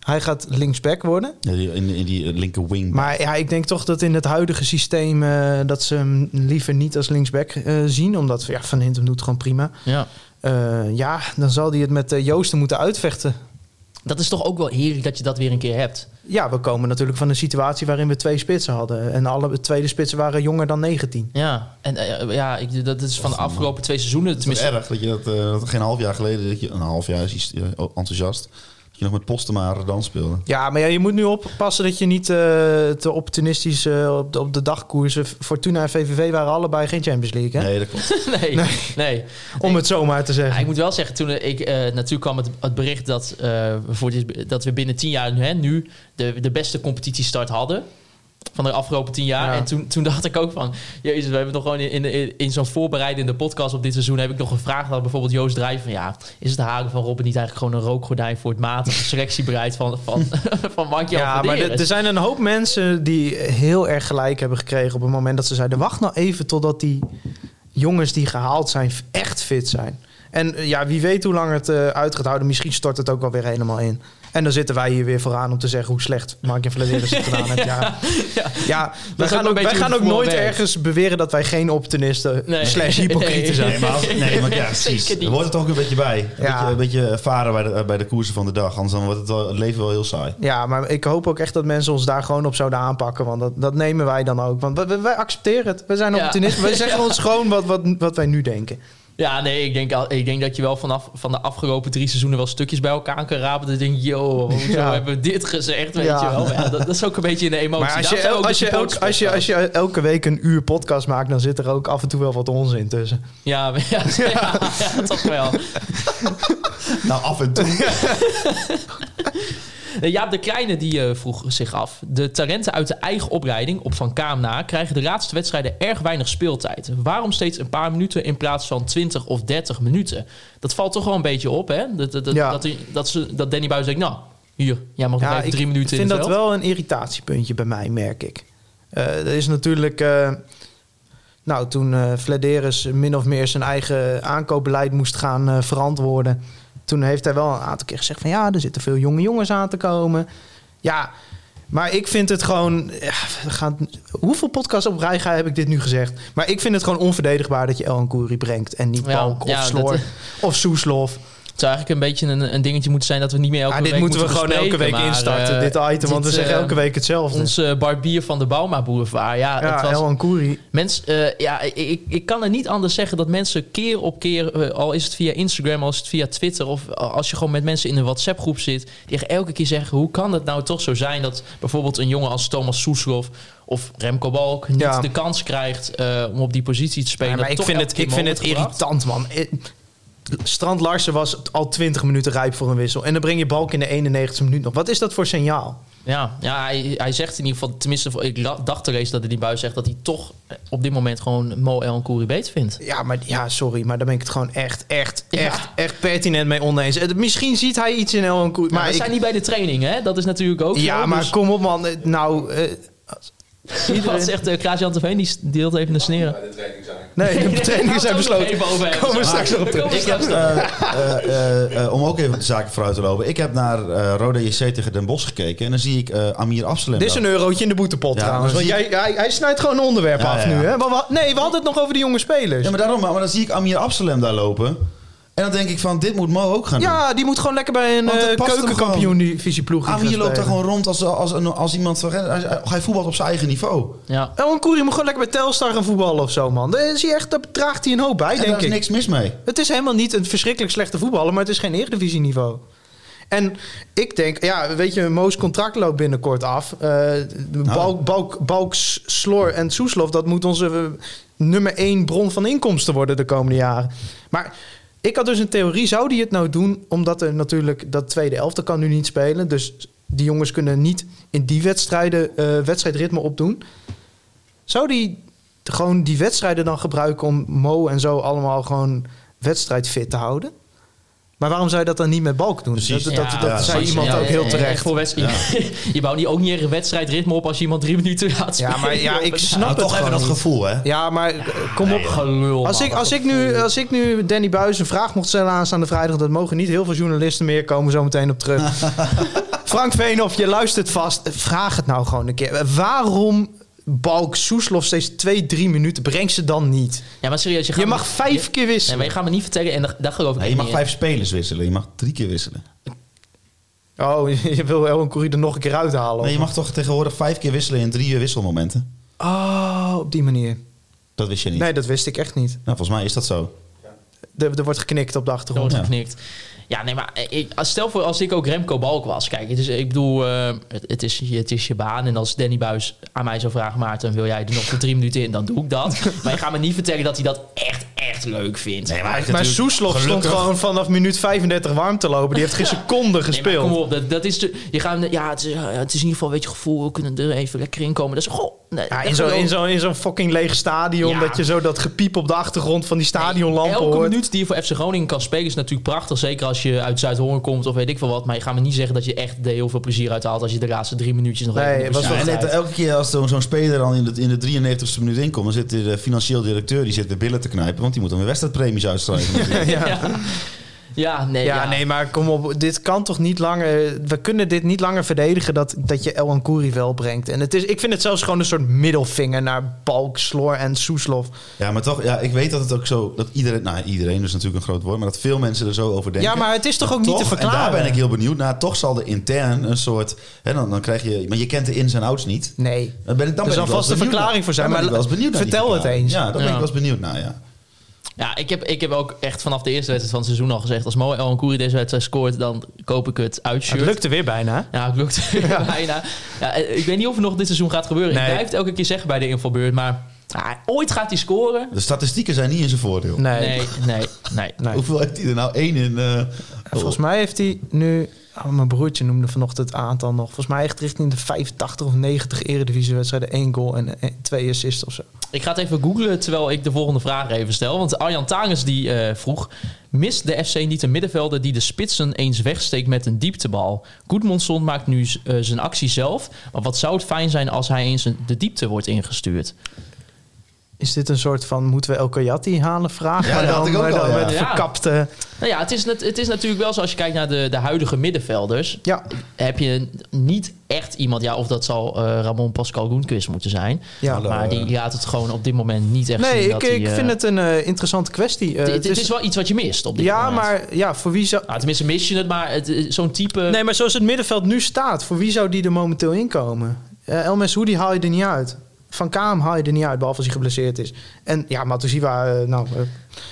S5: hij gaat linksback worden.
S6: Ja, die- in, in die linker wing.
S5: Maar ja, ik denk toch dat in het huidige systeem eh, dat ze hem liever niet als linksback eh, zien. Omdat ja, Van Hintem doet gewoon prima.
S4: Ja.
S5: Eh, ja, dan zal hij het met eh, Joosten moeten uitvechten.
S4: Dat is toch ook wel heerlijk dat je dat weer een keer hebt.
S5: Ja, we komen natuurlijk van een situatie waarin we twee spitsen hadden. En alle tweede spitsen waren jonger dan 19.
S4: Ja, en eh, ja, ik, dat is van de afgelopen twee seizoenen.
S6: Het is
S4: Tenminste,
S6: erg dat je dat, eh, dat geen half jaar geleden, dat je, een half jaar is iets eh, enthousiast, dat je nog met Postema dan speelde.
S5: Ja, maar ja, je moet nu oppassen dat je niet eh, te opportunistisch eh, op, de, op de dagkoersen... Fortuna en VVV waren allebei geen Champions League, hè?
S6: Nee, dat klopt.
S4: nee, nee. nee.
S5: om het zomaar te
S4: Ja,
S5: zeggen.
S4: ik moet wel zeggen, toen ik eh, natuurlijk kwam het, het bericht dat, eh, voor dit, dat we binnen tien jaar hè, nu de, de beste competitiestart hadden. Van de afgelopen tien jaar.
S5: Ja.
S4: En toen, toen dacht ik ook van. Jezus, we hebben nog gewoon in, in, in zo'n voorbereidende podcast op dit seizoen. heb ik nog gevraagd aan bijvoorbeeld Joost Drijven. Van ja, is het halen van Robben niet eigenlijk gewoon een rookgordijn voor het matige selectiebeleid van, van, van Mankje?
S5: ja, maar er er zijn een hoop mensen die heel erg gelijk hebben gekregen... op het moment dat ze zeiden... wacht nou even totdat die jongens die gehaald zijn f- echt fit zijn. En eh, ja, wie weet hoe lang het eh, uit gaat houden. Misschien stort het ook wel weer helemaal in. En dan zitten wij hier weer vooraan om te zeggen hoe slecht Mark en Vladeris het gedaan hebben. Ja, ja. wij
S4: ook een
S5: gaan ook,
S4: beetje
S5: wij
S4: hoe
S5: gaan
S4: het
S5: ook nooit
S4: voetbal werkt.
S5: ergens beweren dat wij geen optimisten
S4: Nee.
S5: slash hypocrieten
S4: Nee.
S5: zijn.
S6: Nee, maar, als- nee, maar ja, precies.
S4: Zeker niet.
S6: Er wordt het ook een beetje bij. Een,
S5: Ja.
S6: beetje, een beetje ervaren bij de, eh, bij de koersen van de dag. Anders dan wordt het, wel, het leven wel heel saai.
S5: Ja, maar ik hoop ook echt dat mensen ons daar gewoon op zouden aanpakken. Want dat, dat nemen wij dan ook. Want we- we- wij accepteren het. We zijn
S4: Ja.
S5: opportunisten. Wij zeggen ons gewoon wat, wat, wat wij nu denken.
S4: Ja, nee, ik denk, al- ik denk dat je wel vanaf van de afgelopen drie seizoenen wel stukjes bij elkaar kan rapen. Dat je denkt, yo, hoezo
S5: Ja.
S4: hebben we dit gezegd, weet
S5: Ja.
S4: je wel. Maar ja, dat, dat is ook een beetje in de emotie.
S5: Maar als
S4: Daarom
S5: je,
S4: Oh, zijn we ook
S5: als,
S4: de
S5: je, elk- als, je, als je elke week een uur podcast maakt, dan zit er ook af en toe wel wat onzin tussen.
S4: Ja, maar- ja, ja, ja, toch wel.
S6: Nou, af en toe.
S4: Eh, Jaap de Kleine die eh, vroeg zich af. De talenten uit de eigen opleiding op Van Kaam na krijgen de laatste wedstrijden erg weinig speeltijd. Waarom steeds een paar minuten in plaats van 20 of 30 minuten? Dat valt toch wel een beetje op, hè? Dat, dat, dat,
S5: Ja.
S4: dat, die- dat, ze, dat Danny Buis denkt, nou, hier, jij mag nog even drie minuten in
S5: vind
S4: het
S5: dat
S4: veld.
S5: wel een irritatiepuntje bij mij, merk ik. Eh, er is natuurlijk... eh, nou, toen eh Vladeris min of meer zijn eigen aankoopbeleid moest gaan eh, verantwoorden... toen heeft hij wel een aantal keer gezegd van... ja, er zitten veel jonge jongens aan te komen. Ja, maar ik vind het gewoon... ja, we gaan, hoeveel podcasts op rij ga heb ik dit nu gezegd? Maar ik vind het gewoon onverdedigbaar dat je El Kouri brengt... en niet
S4: Ja,
S5: Balk of
S4: ja, dat-
S5: Sloor of Soeslof.
S4: Het zou eigenlijk een beetje een, een dingetje moeten zijn dat we niet meer elke
S5: Ja, Ah, dit
S4: week
S5: moeten we gewoon elke
S4: bespreken,
S5: week
S4: maar,
S5: instarten,
S4: eh,
S5: dit item. Want we
S4: dit,
S5: zeggen
S4: eh,
S5: elke week hetzelfde.
S4: Onze barbier van de Bauma Boulevard. Ja,
S5: ja,
S4: het was,
S5: El Ancuri.
S4: mens, eh, ja ik, ik, ik kan er niet anders zeggen dat mensen keer op keer, eh, al is het via Instagram, al is het via Twitter, of als je gewoon met mensen in een WhatsApp-groep zit, die echt elke keer zeggen: hoe kan het nou toch zo zijn dat bijvoorbeeld een jongen als Thomas Soeslof of Remco Balk niet
S5: Ja.
S4: de kans krijgt eh, om op die positie te spelen?
S5: Ja, maar
S4: Dat
S5: ik
S4: toch
S5: vind
S4: elke
S5: het,
S4: keer
S5: ik vind het
S4: mogelijk gebracht.
S5: irritant, man. Eh, Strand Larsen was al 20 minuten rijp voor een wissel. En dan breng je balk in de 91 e minuut nog. Wat is dat voor signaal?
S4: Ja, ja hij, hij zegt in ieder geval, tenminste, ik la- dacht te lezen dat hij die buis zegt dat hij toch eh, op dit moment gewoon Mo El Kouri beter vindt.
S5: Ja, maar ja, sorry, maar daar ben ik het gewoon echt, echt,
S4: Ja.
S5: echt, echt pertinent mee oneens. Eh, Misschien ziet hij iets in El Koer.
S4: Maar
S5: Maar
S4: we
S5: ik-
S4: zijn niet bij de training, hè? Dat is natuurlijk ook.
S5: ja,
S4: zo,
S5: maar
S4: dus-
S5: kom op, man. Eh, Nou, eh,
S4: dat zegt eh, Klaas-Jan Terveen, die s- deelt even een sneren.
S5: nee, de trainingen zijn besloten. Komen we straks nog op terug.
S4: Ik heb
S6: Eh, eh, eh, eh, om ook even de zaken vooruit te lopen. Ik heb naar eh Roda JC tegen Den Bosch gekeken. En dan zie ik eh, Amir Absalem.
S5: Dit is een eurotje in de boetepot
S6: Ja,
S5: trouwens.
S6: maar
S5: Want
S6: zie-
S5: jij, hij, hij snijdt gewoon een onderwerp
S6: Ja,
S5: af
S6: ja, ja.
S5: nu. Hè? Want we- nee, we hadden het nog over de jonge spelers.
S6: Ja,
S5: Ja,
S6: maar daarom. Maar maar dan zie ik Amir Absalem daar lopen. En dan denk ik van, dit moet Mo ook gaan doen.
S5: die moet gewoon lekker bij een
S6: Want het
S5: eh,
S6: past hem
S5: keukenkampioen
S6: gewoon.
S5: divisie ploeg.
S6: Amir loopt daar gewoon rond als, als, een- als, iemand van... Hij, hij voetbalt op zijn eigen niveau.
S4: Ja.
S5: Elan Koeri moet gewoon lekker bij Telstar gaan voetballen of zo, man. Daar, is hij echt, daar draagt hij een hoop bij,
S6: en
S5: denk
S6: daar
S5: ik.
S6: is niks mis mee.
S5: Het is helemaal niet een verschrikkelijk slechte voetballer, maar het is geen eredivisieniveau. En ik denk, ja, weet je, Moos contract loopt binnenkort af. Eh, Balk, Balk, Balk, S- Sloor en Soeslof, dat moet onze eh, nummer één bron van inkomsten worden de komende jaren. Maar Ik had dus een theorie, zou die het nou doen? Omdat er natuurlijk dat tweede elfte kan nu niet spelen. Dus die jongens kunnen niet in die wedstrijden eh wedstrijdritme opdoen. Zou die gewoon die wedstrijden dan gebruiken om Mo en zo allemaal gewoon wedstrijdfit te houden? Maar waarom zou je dat dan niet met Balk doen?
S6: Precies.
S5: Dat, dat, dat,
S6: Ja,
S5: zei
S6: precies.
S5: iemand
S6: Ja,
S5: ook heel
S4: echt
S5: terecht.
S4: Voor wedstrijd. je bouwt niet ook niet echt een wedstrijdritme op als je iemand drie minuten laat spelen.
S5: Ja, maar ja, ik snap
S6: Nou,
S5: het
S6: toch even
S5: gewoon niet.
S6: dat gevoel, hè?
S5: Ja, maar eh, kom op.
S4: Gelul,
S5: Als
S4: man.
S5: ik, als, ik nu, als ik nu Danny Buis een vraag mocht stellen aanstaande vrijdag, dat mogen niet heel veel journalisten meer komen, zo meteen op terug. Frank Veenhoff, je luistert vast. Vraag het nou gewoon een keer. Waarom balk Soeslof steeds twee, drie minuten? Breng ze dan niet.
S4: Ja, maar serieus. Je, gaat
S5: Je
S4: me-
S5: mag vijf keer
S4: Nee,
S5: wisselen.
S4: maar je gaat me niet vertellen. En dat, dat geloof ik
S6: Nee, je
S4: echt
S6: mag
S4: niet
S6: vijf spelers wisselen. Je mag drie keer wisselen.
S5: Oh, je wil El Khoury er nog een keer uithalen.
S6: Nee, je mag toch tegenwoordig vijf keer wisselen in drie wisselmomenten?
S5: Oh, op die manier.
S6: Dat wist je niet.
S5: Nee, dat wist ik echt niet.
S6: Nou, volgens mij is dat zo.
S5: Er, er wordt geknikt op de
S4: Er
S5: achtergrond.
S4: wordt
S6: Ja.
S4: geknikt. Ja, nee, maar eh, ik, als- stel voor als ik ook Remco Balk was. Kijk, het is, ik bedoel, eh, het, het is, je- het is je baan. En als Danny Buis aan mij zou vragen, Maarten, wil jij er nog voor drie minuten in? Dan doe ik dat. Maar je gaat me niet vertellen dat hij dat echt, echt leuk vindt.
S6: Nee,
S5: Maar Soeslof stond gewoon vanaf minuut 35 warm te lopen. Die heeft geen seconde
S4: Nee, maar
S5: gespeeld.
S4: kom op, dat, dat is de, je gaat, hem- ja, het is, ja, het is in ieder geval, weet je, gevoel, we kunnen er even lekker in komen. Dat is, goh, nee,
S5: Ja,
S4: dat
S5: in zo'n
S4: geloof-
S5: in zo, in zo'n fucking leeg stadion.
S4: Ja.
S5: Dat je zo dat gepiep op de achtergrond van die stadionlampen
S4: Elke
S5: hoort.
S4: minuut die je voor FC Groningen kan spelen is natuurlijk prachtig. Zeker als je uit Zuid-Hoorn komt of weet ik veel wat. Maar je gaat me niet zeggen dat je echt er heel veel plezier uit haalt... als je de laatste drie minuutjes nog
S5: Nee,
S4: even...
S5: het was
S6: Ja,
S4: bestaat.
S6: en net, elke keer als zo'n zo'n speler dan in de, in de 93ste minuut inkomt, dan zit de financieel directeur die zit de billen te knijpen, want die moet dan weer wedstrijdpremies uitschrijven.
S4: ja. ja, nee.
S5: Ja, nee, maar kom op. Dit kan toch niet langer... We kunnen dit niet langer verdedigen dat, dat je El Ancoury wel brengt. En het is, ik vind het zelfs gewoon een soort middelvinger naar Balk, Sloor en Soeslof.
S6: ja, maar toch, ja, ik weet dat het ook zo, dat iedereen, nou iedereen is natuurlijk een groot woord, maar dat veel mensen er zo over denken.
S5: Ja, maar het is toch ook niet te
S6: En daar
S5: verklaren?
S6: ben ik heel benieuwd naar. Toch zal er intern een soort, hè, dan, dan krijg je, maar je kent de ins en outs niet.
S5: Nee.
S6: Dan ben ik, dan
S5: Er
S6: ben
S5: zal
S6: ik wel
S5: vast
S6: eens
S5: een
S6: benieuwd
S5: verklaring
S6: naar-
S5: voor zijn,
S6: dan ben
S5: maar
S6: ik wel eens benieuwd naar die
S5: vertel het
S6: verklaring.
S5: eens.
S6: Ja, daar ben
S4: Ja.
S6: ik wel eens benieuwd naar, ja.
S4: Ja, ik heb, ik heb ook echt vanaf de eerste wedstrijd van het seizoen al gezegd... als Mo El Ancoury deze wedstrijd scoort, dan koop ik het uitshirt.
S5: Het lukte weer bijna. hè?
S4: Ja, het lukt bijna. Ja, eh, ik weet niet of het nog dit seizoen gaat gebeuren. Ik
S5: Nee.
S4: blijf het elke keer zeggen bij de invalbeurt, maar... ah, ooit gaat hij scoren.
S6: De statistieken zijn niet in zijn voordeel.
S5: Nee.
S4: Nee, nee, nee.
S5: Nee.
S6: Hoeveel heeft hij er nou? één in... eh,
S5: Volgens mij heeft hij nu... oh, mijn broertje noemde vanochtend het aantal nog. Volgens mij echt richting de 85 of 90 eredivisiewedstrijden. één goal en, en twee assists of zo.
S4: Ik ga het even googlen terwijl ik de volgende vraag even stel. Want Arjan Tangens die eh, vroeg... Mist de FC niet een middenvelder die de spitsen eens wegsteekt met een dieptebal? Goedmondson maakt nu z- eh, zijn actie zelf. Maar wat zou het fijn zijn als hij eens een- de diepte wordt ingestuurd?
S5: Is dit een soort van moeten we El Kayati halen vraag?
S6: Ja,
S5: maar
S6: dat had
S5: dan,
S6: ik ook
S5: maar
S6: al,
S5: dan
S6: ja.
S5: met
S4: Ja.
S5: verkapte.
S4: Nou ja, het is, net- het is natuurlijk wel zo als je kijkt naar de, de huidige middenvelders.
S5: Ja,
S4: Heb je niet echt iemand, ja, of dat zal eh, Ramon Pascal Goenquist moeten zijn.
S5: ja.
S6: Hallo.
S4: Maar die laat het gewoon op dit moment niet echt zien.
S5: Nee, ik,
S4: dat hij,
S5: ik
S4: eh,
S5: vind het een eh, interessante kwestie. Eh,
S4: het,
S5: het is,
S4: is wel iets wat je mist op dit
S5: ja,
S4: moment.
S5: maar ja, voor wie zou.
S4: Nou, tenminste, mis je het, maar het, eh, zo'n type...
S5: Nee, maar zoals het middenveld nu staat, voor wie zou die er momenteel inkomen? Eh El Hoodie haal je er niet uit. Van Kaam haal je er niet uit, behalve als hij geblesseerd is. En ja, Matusiwa, eh, nou, eh,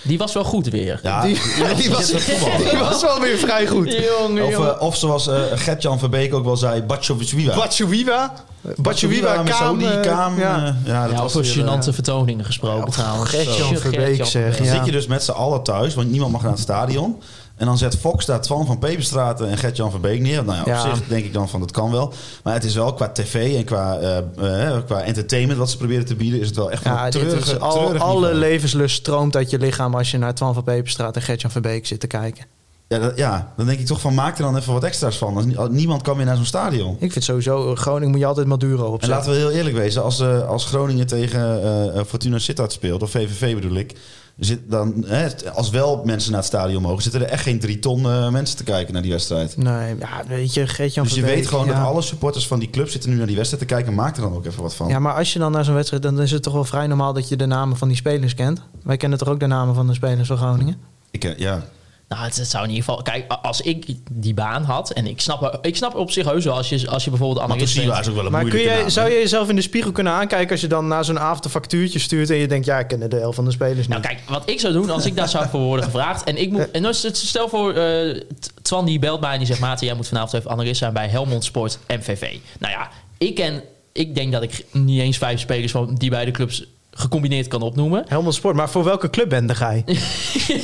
S4: Die was wel goed weer.
S6: Ja,
S5: Die-
S6: die, die was voetbal.
S5: die was wel weer vrij goed.
S4: Jongen,
S6: Of, eh, of zoals eh, Gert-Jan Verbeek ook wel zei, Batjovic-Wiwa.
S5: Batshuiwa, Batshuiwa, Kaam.
S6: Saudi,
S5: eh,
S6: Kaam.
S5: ja.
S6: eh, ja, dat
S4: ja,
S6: was
S4: over
S6: weer, eh,
S4: gênante vertoningen gesproken trouwens.
S5: Gert-Jan Verbeek, zeg,
S6: Dan
S5: ja.
S6: zit je dus met z'n allen thuis, want niemand mag naar het stadion. En dan zet Fox daar Twan van Peperstraten en Gert-Jan van Beek neer. Nou ja, op
S5: Ja.
S6: zich denk ik dan van dat kan wel. Maar het is wel qua tv en qua, eh, eh, qua entertainment wat ze proberen te bieden... is het wel echt
S5: Ja,
S6: een
S5: dit
S6: treurige,
S5: is al-
S6: treurig
S5: alle
S6: niveau.
S5: levenslust stroomt uit je lichaam als je naar Twan van Peperstraat en Gertjan van Beek zit te kijken.
S6: ja, dat- ja, dan denk ik toch van maak er dan even wat extra's van. Als nie- als Niemand kan meer naar zo'n stadion.
S5: Ik vind sowieso, eh, Groningen moet je altijd Maduro
S6: En
S5: opzetten.
S6: laten we heel eerlijk wezen, als, eh, als Groningen tegen eh, eh, Fortuna Sittard speelt, of VVV bedoel ik, zit dan, hè, t- als wel mensen naar het stadion mogen, zitten er echt geen drie ton eh, mensen te kijken naar die wedstrijd.
S5: Nee, ja, weet je, Gertjan
S6: Dus
S5: van
S6: je
S5: Beek,
S6: weet gewoon
S5: ja.
S6: dat alle supporters van die club zitten nu naar die wedstrijd te kijken. Maak er dan ook even wat van.
S5: Ja, maar als je dan naar zo'n wedstrijd, dan is het toch wel vrij normaal dat je de namen van die spelers kent. Wij kennen toch ook de namen van de spelers van Groningen?
S6: Ik, eh, ja.
S4: Nou, het, het zou in ieder geval... Kijk, a- als ik die baan had... En ik snap, ik snap op zich heus wel als je, als je bijvoorbeeld
S6: Maar
S4: analist bent.
S6: is ook wel een
S5: Maar kun
S6: moeilijke
S5: jij,
S6: naam,
S5: zou
S6: hè?
S5: je jezelf in de spiegel kunnen aankijken als je dan na zo'n avond een factuurtje stuurt en je denkt, ja, ik ken de helft van de spelers niet.
S4: Nou kijk, wat ik zou doen als ik daar zou voor worden gevraagd... En ik moet... En als het- stel voor, eh, T- Twan die belt mij en die zegt... Maarten, jij moet vanavond even analist zijn bij Helmond Sport MVV. Nou ja, ik ken... Ik denk dat ik niet eens vijf spelers van die beide clubs gecombineerd kan opnoemen.
S5: Helmond Sport, maar voor welke clubbende ga je?
S4: ja,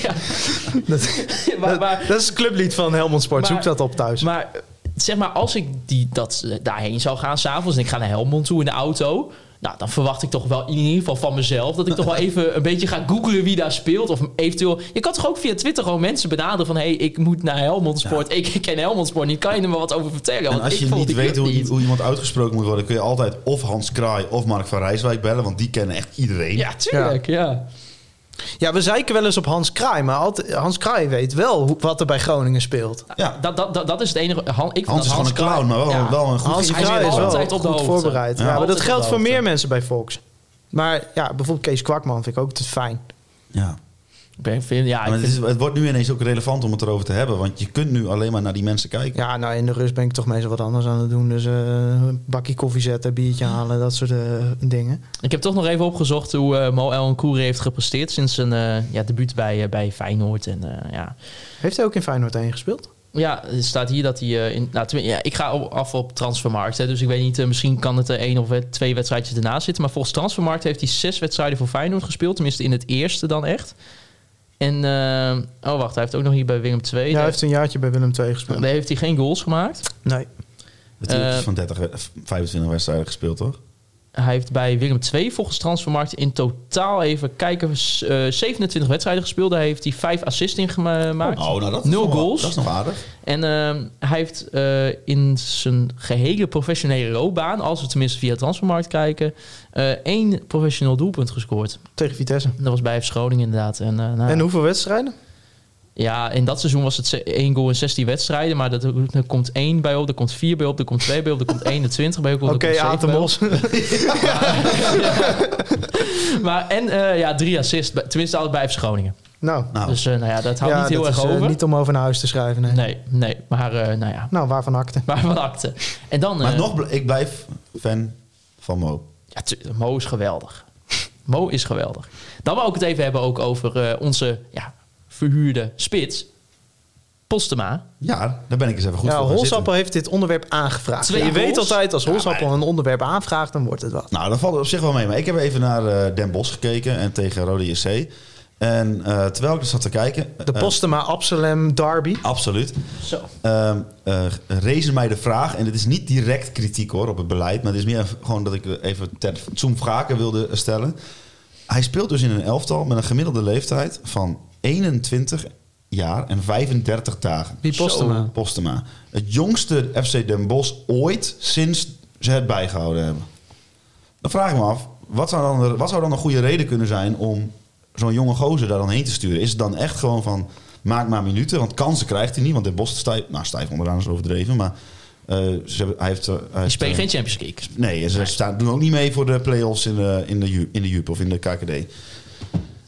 S5: dat,
S4: maar,
S5: dat,
S4: maar,
S5: dat is het clublied van Helmond Sport.
S4: Maar-
S5: Zoek dat op thuis.
S4: maar zeg maar, als ik die, dat, eh, daarheen zou gaan s'avonds en ik ga naar Helmond toe in de auto... Nou, dan verwacht ik toch wel in ieder geval van mezelf... dat ik toch wel even een beetje ga googlen wie daar speelt. Of eventueel... Je kan toch ook via Twitter gewoon mensen benaderen van... hé, hey, ik moet naar Helmond Sport. Ik, ken Helmond Sport niet. Kan je er maar wat over vertellen?
S6: En
S4: Want
S6: als
S4: Oh, ik
S6: je
S4: volg
S6: niet
S4: die
S6: weet
S4: club
S6: hoe,
S4: niet.
S6: hoe iemand uitgesproken moet worden, kun je altijd of Hans Kraai of Mark van Rijswijk bellen, want die kennen echt iedereen.
S4: Ja, tuurlijk, ja.
S5: Ja, we zeiken wel eens op Hans Kraai, maar altijd, Hans Kraai weet wel hoe- wat er bij Groningen speelt.
S6: Ja.
S4: Dat, dat, dat, dat is het enige. Han, ik vind
S6: Hans is
S4: dat
S6: gewoon een clown, maar wel,
S4: Ja.
S6: wel een goed
S5: Hans
S4: hij
S5: Kraai
S4: zit
S5: is wel
S4: altijd op de
S5: goed
S4: hoogte.
S5: voorbereid. Ja,
S6: Ja.
S5: maar dat
S4: Altijd op
S5: geldt
S4: de
S5: voor meer
S4: hoogte.
S5: mensen bij Fox. Maar ja, bijvoorbeeld Kees Kwakman vind ik ook te fijn.
S6: Ja.
S4: Ik ben- vind, ja, ik
S6: Maar het,
S4: vind-
S6: is- het wordt nu ineens ook relevant om het erover te hebben, want je kunt nu alleen maar naar die mensen kijken.
S5: Ja, nou in de rust ben ik toch meestal wat anders aan het doen. Dus eh, een bakje koffie zetten, biertje halen, dat soort eh, dingen.
S4: ik heb toch nog even opgezocht hoe eh Mo Elnkouri heeft gepresteerd sinds zijn eh, ja, debuut bij, eh, bij Feyenoord. En, eh, ja.
S5: Heeft hij ook in Feyenoord 1 gespeeld?
S4: ja, er staat hier dat hij. eh, in, nou, tenmin- ja, ik ga op- af op transfermarkt. Hè, dus ik weet niet, eh, misschien kan het er één of wet- twee wedstrijdjes ernaast zitten. Maar volgens transfermarkt heeft hij zes wedstrijden voor Feyenoord gespeeld. Tenminste, in het eerste dan echt. En eh, oh, wacht, hij heeft ook nog hier bij Willem II.
S5: Ja, hij heeft een jaartje bij Willem II gespeeld.
S4: daar heeft hij geen goals gemaakt.
S5: Nee.
S6: Het is
S4: Eh,
S6: van 30, we- 25 wedstrijden gespeeld, toch?
S4: Hij heeft bij Willem II volgens Transfermarkt in totaal even kijken, s- eh, 27 wedstrijden gespeeld. Daar heeft hij 5 assists in gema- gemaakt.
S6: nou dat
S4: Nul
S6: nog wel-
S4: goals.
S6: Dat is nog aardig.
S4: En ehm, hij heeft eh, in zijn gehele professionele loopbaan, als we tenminste via Transfermarkt kijken, eh één professioneel doelpunt gescoord.
S5: Tegen Vitesse.
S4: Dat was bij FC Groningen inderdaad. En, eh, nou,
S5: En hoeveel wedstrijden?
S4: ja, in dat seizoen was het ze- één goal in 16 wedstrijden. Maar dat, er komt één bij op, er komt vier bij op, er komt twee bij op, er komt 21 bij op. er
S5: Oké,
S4: komt zeven bij op.
S5: Atemos.
S4: Maar, en eh, ja, drie assists, bij- tenminste altijd bij FC Groningen.
S5: nou,
S6: Nou,
S4: Dus eh, nou ja, dat houdt
S5: ja,
S4: niet heel
S5: dat
S4: erg
S5: is, eh,
S4: over.
S5: niet om over naar huis te schrijven. Nee.
S4: Nee, nee. Maar eh, nou ja,
S5: Nou, waarvan akte?
S4: maar wat acte. En dan...
S6: maar
S4: eh,
S6: nog, bl- ik blijf fan van Mo.
S4: ja, tu- Mo is geweldig. Mo is geweldig. Dan wil ik het even hebben ook over eh, onze ja, verhuurde spits. Postema.
S6: Ja, daar ben ik eens even goed
S5: Ja,
S6: voor gaan
S5: Holsappel
S6: zitten.
S5: heeft dit onderwerp aangevraagd.
S4: Twee
S5: je weet
S4: goals.
S5: altijd, als
S6: Ja,
S5: Holsappel
S6: maar-
S5: een onderwerp aanvraagt, dan wordt het wat.
S6: Nou, dat valt op zich wel mee. Maar ik heb even naar eh, Den Bosch gekeken en tegen Rode JC. En eh, terwijl ik er zat te kijken...
S5: De
S6: eh,
S5: Postema, Absalem, Derby.
S6: absoluut.
S4: Zo.
S6: ehm eh, rezen mij de vraag, en dit is niet direct kritiek hoor op het beleid, maar het is meer gewoon dat ik even ter zoom vragen wilde stellen. Hij speelt dus in een elftal met een gemiddelde leeftijd van 21 jaar en 35 dagen.
S5: Wie nou? Postema?
S6: Zo, Postema. Het jongste FC Den Bosch ooit sinds ze het bijgehouden hebben. Dan vraag ik me af, wat zou dan, wat zou dan een goede reden kunnen zijn om zo'n jonge gozer daar dan heen te sturen? Is het dan echt gewoon van, maak maar minuten, want kansen krijgt hij niet. Want Den Bosch stijf, nou stijf onderaan is overdreven, maar eh, ze hebben, hij heeft... eh, hij
S4: Die
S6: heeft,
S4: spelen
S6: eh,
S4: geen Champions League.
S6: Nee, ze Staan, doen ook niet mee voor de play-offs in de, in de, Ju- in de Jup of in de KKD.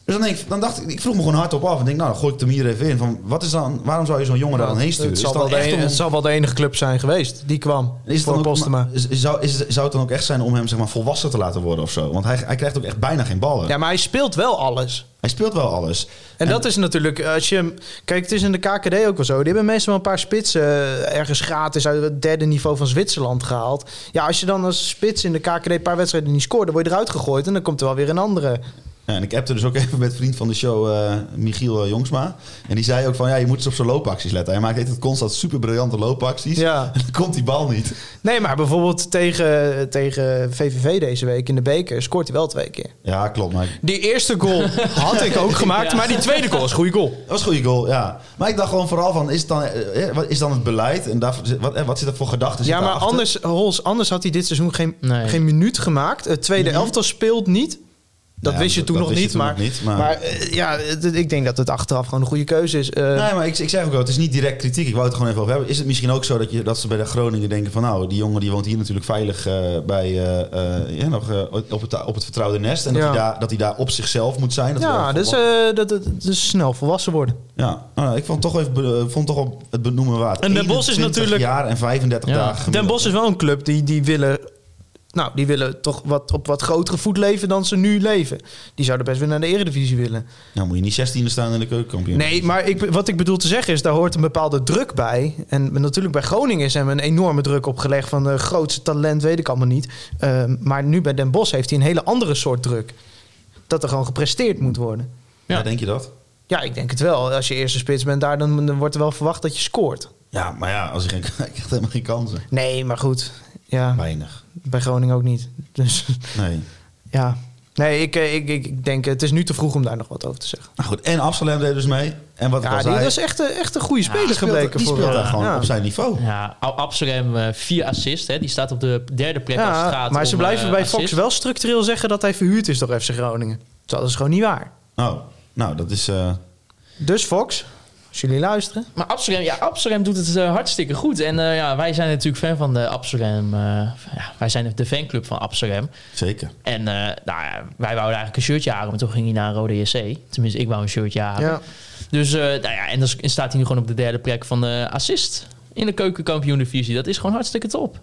S6: Dus dan, denk ik, dan dacht ik, ik vroeg me gewoon hardop af. En denk, nou, dan gooi ik hem hier even in. Van, wat is dan, waarom zou je zo'n jongen daar dan heen sturen?
S5: Het
S6: Is dus
S5: zal,
S6: dan
S5: wel de
S6: echt
S5: enige,
S6: om-
S5: het zal wel de enige club zijn geweest die kwam
S6: is het
S5: voor
S6: dan ook,
S5: Postema.
S6: maar- is- is- zou, is, zou het dan ook echt zijn om hem zeg maar, volwassen te laten worden of zo? Want hij, hij krijgt ook echt bijna geen ballen.
S5: Ja, maar hij speelt wel alles.
S6: Hij speelt wel alles.
S5: En, dat is natuurlijk, eh, als je hem... Kijk, het is in de KKD ook wel zo. Die hebben meestal wel een paar spitsen eh, ergens gratis uit het derde niveau van Zwitserland gehaald. Ja, als je dan als spits in de KKD een paar wedstrijden niet scoort, dan word je eruit gegooid en dan komt er wel weer een andere.
S6: Ja, en ik appte dus ook even met vriend van de show, eh, Michiel eh, Jongsma. En die zei ook van, ja, je moet eens op zijn loopacties letten. Hij maakt altijd constant super briljante loopacties.
S5: Ja.
S6: En dan komt die bal niet.
S5: Nee, maar bijvoorbeeld tegen, tegen VVV deze week in de beker scoort hij wel twee keer.
S6: Ja, klopt. Maar
S5: Die eerste goal had ik ook gemaakt, maar die tweede goal is een goede goal.
S6: dat was een goede goal, ja. Maar ik dacht gewoon vooral van, is het dan, eh, eh, wat is dan het beleid? En daar, wat, eh, wat zit er voor gedachten?
S5: Ja,
S6: zit
S5: maar
S6: daarachter?
S5: anders, Hols, anders had hij dit seizoen geen,
S4: Nee.
S5: geen minuut gemaakt. Het tweede elftal speelt niet. Dat
S6: Ja,
S5: wist je
S6: dat-
S5: toen
S6: dat
S5: nog
S6: wist je
S5: niet,
S6: toen
S5: maar,
S6: nog niet, maar-
S5: eh, ja, het- ik denk dat het achteraf gewoon een goede keuze is. Eh,
S6: Nee, maar ik, ik zeg ook wel, het is niet direct kritiek. Ik wou het er gewoon even over hebben. Is het misschien ook zo dat, je, dat ze bij de Groningen denken van... nou, die jongen die woont hier natuurlijk veilig eh, bij, eh, eh, ja, nog, eh, op, het, op het vertrouwde nest. En dat,
S5: Ja.
S6: hij daar, dat hij daar op zichzelf moet zijn. Dat hij
S5: ja,
S6: daar
S5: dus,
S6: volwa-
S5: eh, dat, dat, dat is snel volwassen worden.
S6: ja. Nou, nou, ik vond toch, even, be- vond toch op het benoemen waard.
S5: En Den Bosch is
S6: 21
S5: natuurlijk-
S6: jaar en 35
S4: Ja.
S6: dagen.
S5: Den
S6: gemiddeld.
S5: Bosch is wel een club die, die willen... Nou, die willen toch wat, op wat grotere voet leven dan ze nu leven. Die zouden best weer naar de eredivisie willen.
S6: Nou, moet je niet 16e staan in de keukenkampioen.
S5: Nee, maar ik, wat ik bedoel te zeggen is, daar hoort een bepaalde druk bij. En natuurlijk bij Groningen is hem een enorme druk opgelegd van eh, de grootste talent, weet ik allemaal niet. Ehm, maar nu bij Den Bosch heeft hij een hele andere soort druk. dat er gewoon gepresteerd moet worden.
S6: Ja. denk je dat?
S5: Ja, ik denk het wel. Als je eerste spits bent daar, dan, dan wordt er wel verwacht dat je scoort.
S6: Ja, maar ja, als je geen, ik had helemaal geen kansen.
S5: Nee, maar goed. Ja,
S6: Weinig.
S5: bij Groningen ook niet. Dus
S6: Nee.
S5: ja. Nee, ik, eh, ik, ik, ik denk, eh, het is nu te vroeg om daar nog wat over te zeggen.
S6: Nou goed, en Absalem deed dus mee. En wat ik al
S5: Ja, die
S6: zei,
S5: was echt, eh, echt een goede speler
S6: die speelt,
S5: gebleken.
S6: die
S5: voor
S6: speelt
S5: eh,
S6: daar gewoon
S5: ja.
S6: op zijn niveau.
S4: Ja, Ab- Absalem, eh, vier assists. Hè. Die staat op de derde plek op
S5: Ja,
S4: straat.
S5: maar ze
S4: om,
S5: blijven
S4: eh,
S5: bij
S4: assist.
S5: Fox wel structureel zeggen dat hij verhuurd is door FC Groningen. Dat is gewoon niet waar.
S6: Oh, nou, dat is... eh,
S5: Dus Fox, als jullie luisteren.
S4: Maar Absalem, ja, Absalem doet het eh, hartstikke goed. En eh, ja, wij zijn natuurlijk fan van de Absalem. eh, ja, wij zijn de fanclub van Absalem.
S6: zeker.
S4: En eh, nou ja, wij wouden eigenlijk een shirtje halen, maar toen ging hij naar Rode JC. Tenminste, ik wou een shirtje halen.
S5: Ja.
S4: Dus eh, nou ja, en dan s- en staat hij nu gewoon op de derde plek van de assist in de keukenkampioen-divisie. Dat is gewoon hartstikke top.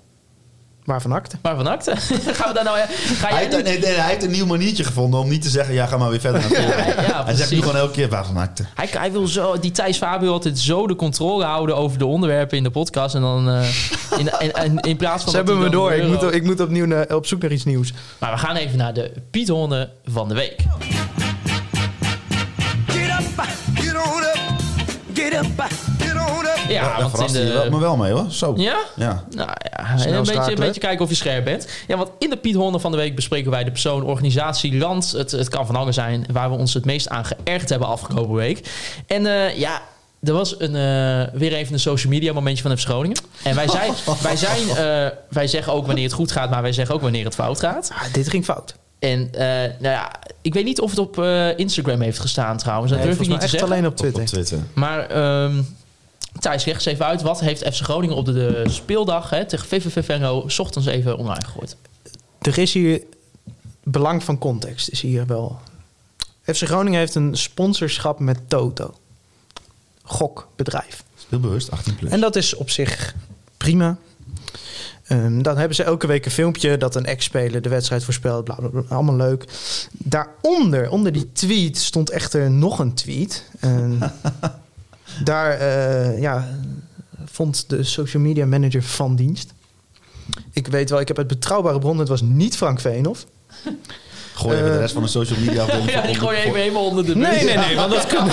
S5: Maar van acte.
S4: Maar van acte. Gaan we daar nou... Ga
S6: Hij
S4: jij
S6: heeft, een-
S4: nu...
S6: nee, nee, hij heeft een nieuw maniertje gevonden om niet te zeggen... Ja, ga maar weer verder naar voren.
S4: ja,
S6: hij zegt nu
S4: precies.
S6: gewoon elke keer waarvan maakte.
S4: Hij, hij wil zo, die Thijs Fabio altijd zo de controle houden over de onderwerpen in de podcast. En dan eh, in, in, in, in plaats van.
S5: Ze
S4: dat
S5: hebben
S4: hij
S5: me
S4: dan
S5: door.
S4: de
S5: Ik
S4: euro-
S5: moet, ik moet opnieuw naar- op zoek naar iets nieuws.
S4: Maar we gaan even naar de Piethonden van de week.
S3: Get up, get on up, get up, get on up.
S4: Ja,
S6: Ja, daar
S4: want in
S6: verraste hij
S4: de.
S6: wel- me wel mee, hoor. Zo.
S4: Ja?
S6: Ja.
S4: Nou ja,
S5: Snel
S4: een beetje, een
S5: schakelen.
S4: beetje kijken of je scherp bent. Ja, want in de Piet Honden van de week bespreken wij de persoon, organisatie, land. Het, het kan van alles zijn waar we ons het meest aan geërgerd hebben afgelopen week. En eh, ja, er was een, eh, weer even een social media momentje van FC Groningen. En wij, zijn, wij, zijn, eh, wij zeggen ook wanneer het goed gaat, maar wij zeggen ook wanneer het fout gaat.
S5: Ah, dit ging fout.
S4: En eh, nou ja, ik weet niet of het op eh, Instagram heeft gestaan trouwens. Dat
S5: Nee,
S4: durf ik
S5: volgens
S4: niet
S5: mij
S4: te
S5: echt
S4: zeggen.
S5: alleen op
S6: Op, op
S5: Twitter.
S6: Twitter.
S4: Maar ehm Thijs, leg eens even uit. Wat heeft FC Groningen op de, de speeldag hè, tegen VVV Venlo... 's ochtends even online gegooid?
S5: Er is hier belang van context. Is hier wel. FC Groningen heeft een sponsorschap met Toto. Gokbedrijf.
S6: Heel bewust, 18 plus.
S5: En dat is op zich prima. Ehm, dan hebben ze elke week een filmpje dat een ex-speler de wedstrijd voorspelt. Bla, bla, bla, allemaal leuk. Daaronder, onder die tweet, stond echter nog een tweet. Ehm, daar eh, ja, vond de social media manager van dienst. Ik weet wel, ik heb het betrouwbare bron, het was niet Frank Veenhoff.
S6: Gooi even de rest van de social media. afdeling
S4: eh, Ja, die
S6: van-
S4: gooi je even helemaal onder de bus.
S5: Nee, nee, nee, want dat kunnen,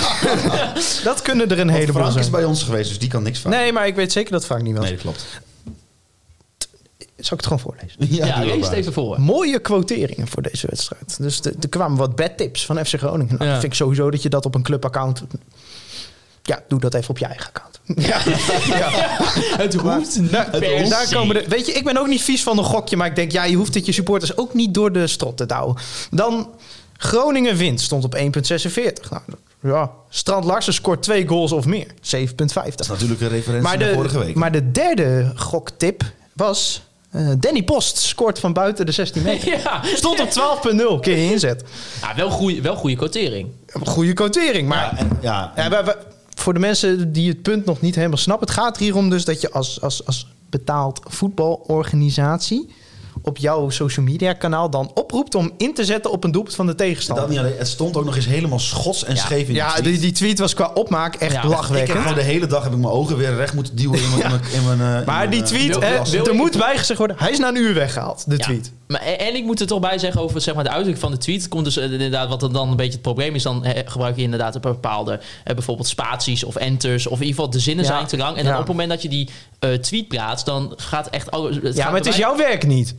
S5: dat kunnen er een
S6: Want
S5: heleboel
S6: Frank is
S5: zijn.
S6: bij ons geweest, dus die kan niks van.
S5: Nee, maar ik weet zeker dat Frank niet was.
S6: Nee, dat klopt.
S5: Zal ik het gewoon voorlezen?
S4: Ja,
S6: doe
S4: lees
S6: maar.
S4: het even voor.
S5: Mooie quoteringen voor deze wedstrijd. Dus de- er kwamen wat bedtips van FC Groningen. Nou,
S4: Ja.
S5: vind ik sowieso dat je dat op een clubaccount... Ja, doe dat even op je eigen account. Ja,
S4: Het hoeft niet per
S5: En daar
S4: se.
S5: komen de, weet je, ik ben ook niet vies van een gokje, maar ik denk, ja, je hoeft het je supporters ook niet door de strot te douwen. Dan Groningen wint, stond op 1,46. Nou, ja, Strand Larsen scoort twee goals of meer, 7,50.
S6: Dat is natuurlijk een referentie
S5: Maar
S6: naar vorige
S5: de,
S6: week.
S5: maar de derde goktip was... eh, Danny Post scoort van buiten de 16 meter.
S4: Ja.
S5: Stond op 12,0 keer je inzet.
S4: Ja, wel goede wel goeie quotering.
S5: Goede quotering, maar...
S6: ja, en, ja,
S5: Ja, we- we- voor de mensen die het punt nog niet helemaal snappen... het gaat er hier om dus dat je als, als, als betaald voetbalorganisatie... op jouw social media kanaal dan oproept om in te zetten op een doelpunt van de
S6: dat
S5: tegenstander.
S6: niet alleen. Het stond ook nog eens helemaal schots en scheef in de
S5: Ja,
S6: tweet.
S5: die, die tweet was qua opmaak echt
S4: Ja,
S6: Ik heb
S5: lachwekkend.
S6: gewoon de hele dag heb ik mijn ogen weer recht moeten duwen in mijn... in mijn- in mijn, eh, in
S5: Maar
S6: mijn,
S5: die
S6: eh,
S5: tweet, hè,
S4: wil
S5: er
S4: ik-
S5: moet bijgezegd worden... hij is na een uur weggehaald, de
S4: Ja.
S5: tweet.
S4: Maar, en en ik moet er toch bij zeggen over zeg maar, de uitdrukking van de tweet. Het komt dus eh, inderdaad, wat er dan een beetje het probleem is, dan eh, gebruik je inderdaad een bepaalde eh, bijvoorbeeld spaties of enters. Of in ieder geval de zinnen
S5: Ja.
S4: zijn te lang. En dan
S5: Ja.
S4: op het moment dat je die eh, tweet plaatst, dan gaat echt alles. gaat
S5: Ja, maar het is
S4: bij-
S5: jouw werk niet.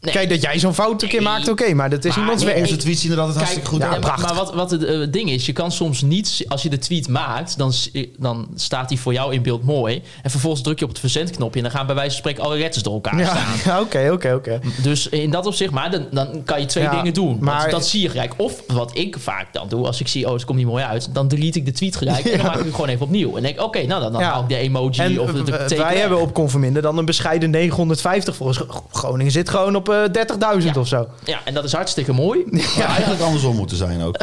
S4: Nee.
S5: Kijk, dat jij zo'n fout een keer
S4: Nee.
S5: maakt, oké, maar dat is
S4: Maar
S5: iemands
S4: nee,
S5: werk.
S6: Onze tweets zien er altijd hartstikke goed
S5: ja,
S6: uit.
S4: maar-
S5: prachtig.
S4: Maar wat, wat het eh, ding is, je kan soms niet, als je de tweet maakt, dan, s- eh, dan staat die voor jou in beeld mooi. En vervolgens druk je op het verzendknopje en dan gaan bij wijze van spreken alle letters door elkaar staan.
S5: Ja, oké, oké, oké.
S4: Dus in dat opzicht, maar dan, dan kan je twee
S5: Ja,
S4: dingen doen.
S5: maar-
S4: want dat zie je gelijk. Of wat ik vaak dan doe, als ik zie, oh, het komt niet mooi uit, dan delete ik de tweet gelijk en dan maak ik het gewoon even opnieuw. En denk, oké, nou dan, dan
S5: Ja.
S4: haal ik de emoji
S5: En
S4: of de, de
S5: w- w-
S4: teken
S5: wij
S4: weg.
S5: hebben op Conforminder dan een bescheiden 950 volgens Gro- Groningen zit gewoon op eh, 30.000
S4: Ja.
S5: of zo.
S4: Ja, en dat is hartstikke mooi.
S6: Ja, eigenlijk andersom moeten zijn ook.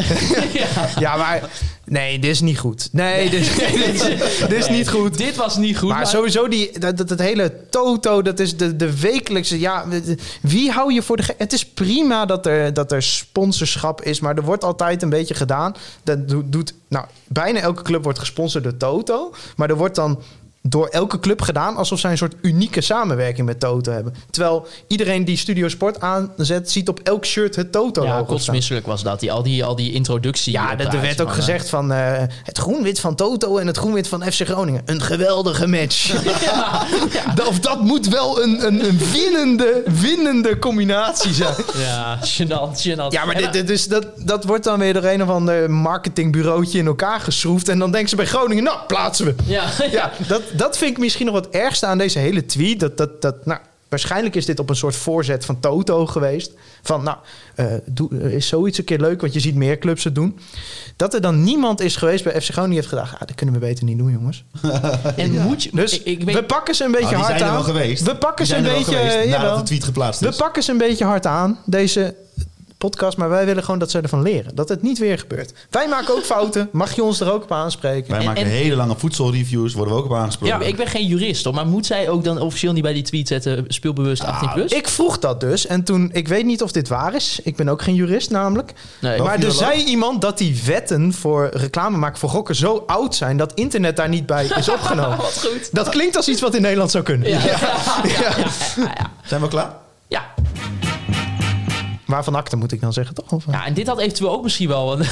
S5: Ja, maar nee, dit is niet goed. Nee, dit, dit is, dit is niet goed.
S4: Dit was niet goed.
S5: Maar
S4: maar-
S5: sowieso die, dat, dat, dat hele Toto, dat is de, de wekelijkse. Ja, de- de- wie hou je voor de. ge- Het is prima dat er, dat er sponsorschap is, maar er wordt altijd een beetje gedaan. Dat doet, doet, nou, bijna elke club wordt gesponsord door Toto, maar er wordt dan door elke club gedaan alsof zij een soort unieke samenwerking met Toto hebben. Terwijl iedereen die Studio Sport aanzet, ziet op elk shirt het Toto
S4: Ja,
S5: logo staan.
S4: kotsmisselijk was dat. Die, al, die, al die introductie.
S5: Ja,
S4: eh,
S5: dat, er
S4: praatjes,
S5: werd ook
S4: man, eh.
S5: gezegd van eh, het groen-wit van Toto en het groen-wit van FC Groningen. Een geweldige match. Dat- Of dat moet wel een, een, een winnende, winnende combinatie zijn.
S4: Ja, gênant, gênant.
S5: Ja, maar
S4: En
S5: dit, dit is, dat, dat wordt dan weer door een of ander marketingbureautje in elkaar geschroefd. En dan denken ze bij Groningen, nou, plaatsen we.
S4: Ja,
S5: Ja, dat, dat vind ik misschien nog wat ergste aan deze hele tweet. Dat, dat, dat, nou, waarschijnlijk is dit op een soort voorzet van Toto geweest. Van, nou, eh, doe, eh, is zoiets een keer leuk, want je ziet meer clubs het doen. Dat er dan niemand is geweest bij FC Groningen die heeft gedacht... Ah, dat kunnen we beter niet doen, jongens.
S4: en moet je...
S5: Dus
S4: ik, ik
S5: we
S4: weet,
S5: pakken ze een beetje
S6: Nou, die
S5: hard
S6: zijn er
S5: aan.
S6: wel geweest.
S5: We pakken
S6: Die
S5: ze
S6: zijn
S5: een
S6: er wel
S5: beetje... eh,
S6: geweest nadat
S5: jawel.
S6: de tweet geplaatst
S5: we
S6: is.
S5: pakken ze een beetje hard aan, deze podcast. Maar wij willen gewoon dat ze ervan leren. Dat het niet weer gebeurt. Wij maken ook fouten. Mag je ons er ook op aanspreken?
S6: Wij
S4: En-
S6: maken
S4: en-
S6: hele lange voedselreviews, worden we ook op aangesproken.
S4: ja, maar ik ben geen jurist, hoor. Maar moet zij ook dan officieel niet bij die tweet zetten... speelbewust 18 plus?
S5: Ah, Ik vroeg dat dus. En toen, ik weet niet of dit waar is. Ik ben ook geen jurist namelijk.
S4: Nee.
S5: maar er
S6: viroloog?
S5: zei iemand dat die wetten voor reclame maken voor gokken zo oud zijn dat internet daar niet bij is opgenomen.
S4: goed.
S5: Dat klinkt als iets wat in Nederland zou kunnen.
S4: Ja. Ja.
S6: Zijn we klaar?
S4: Ja.
S5: Waarvan akte moet ik dan zeggen, toch? Of, eh?
S4: Ja, en dit had eventueel ook misschien wel een,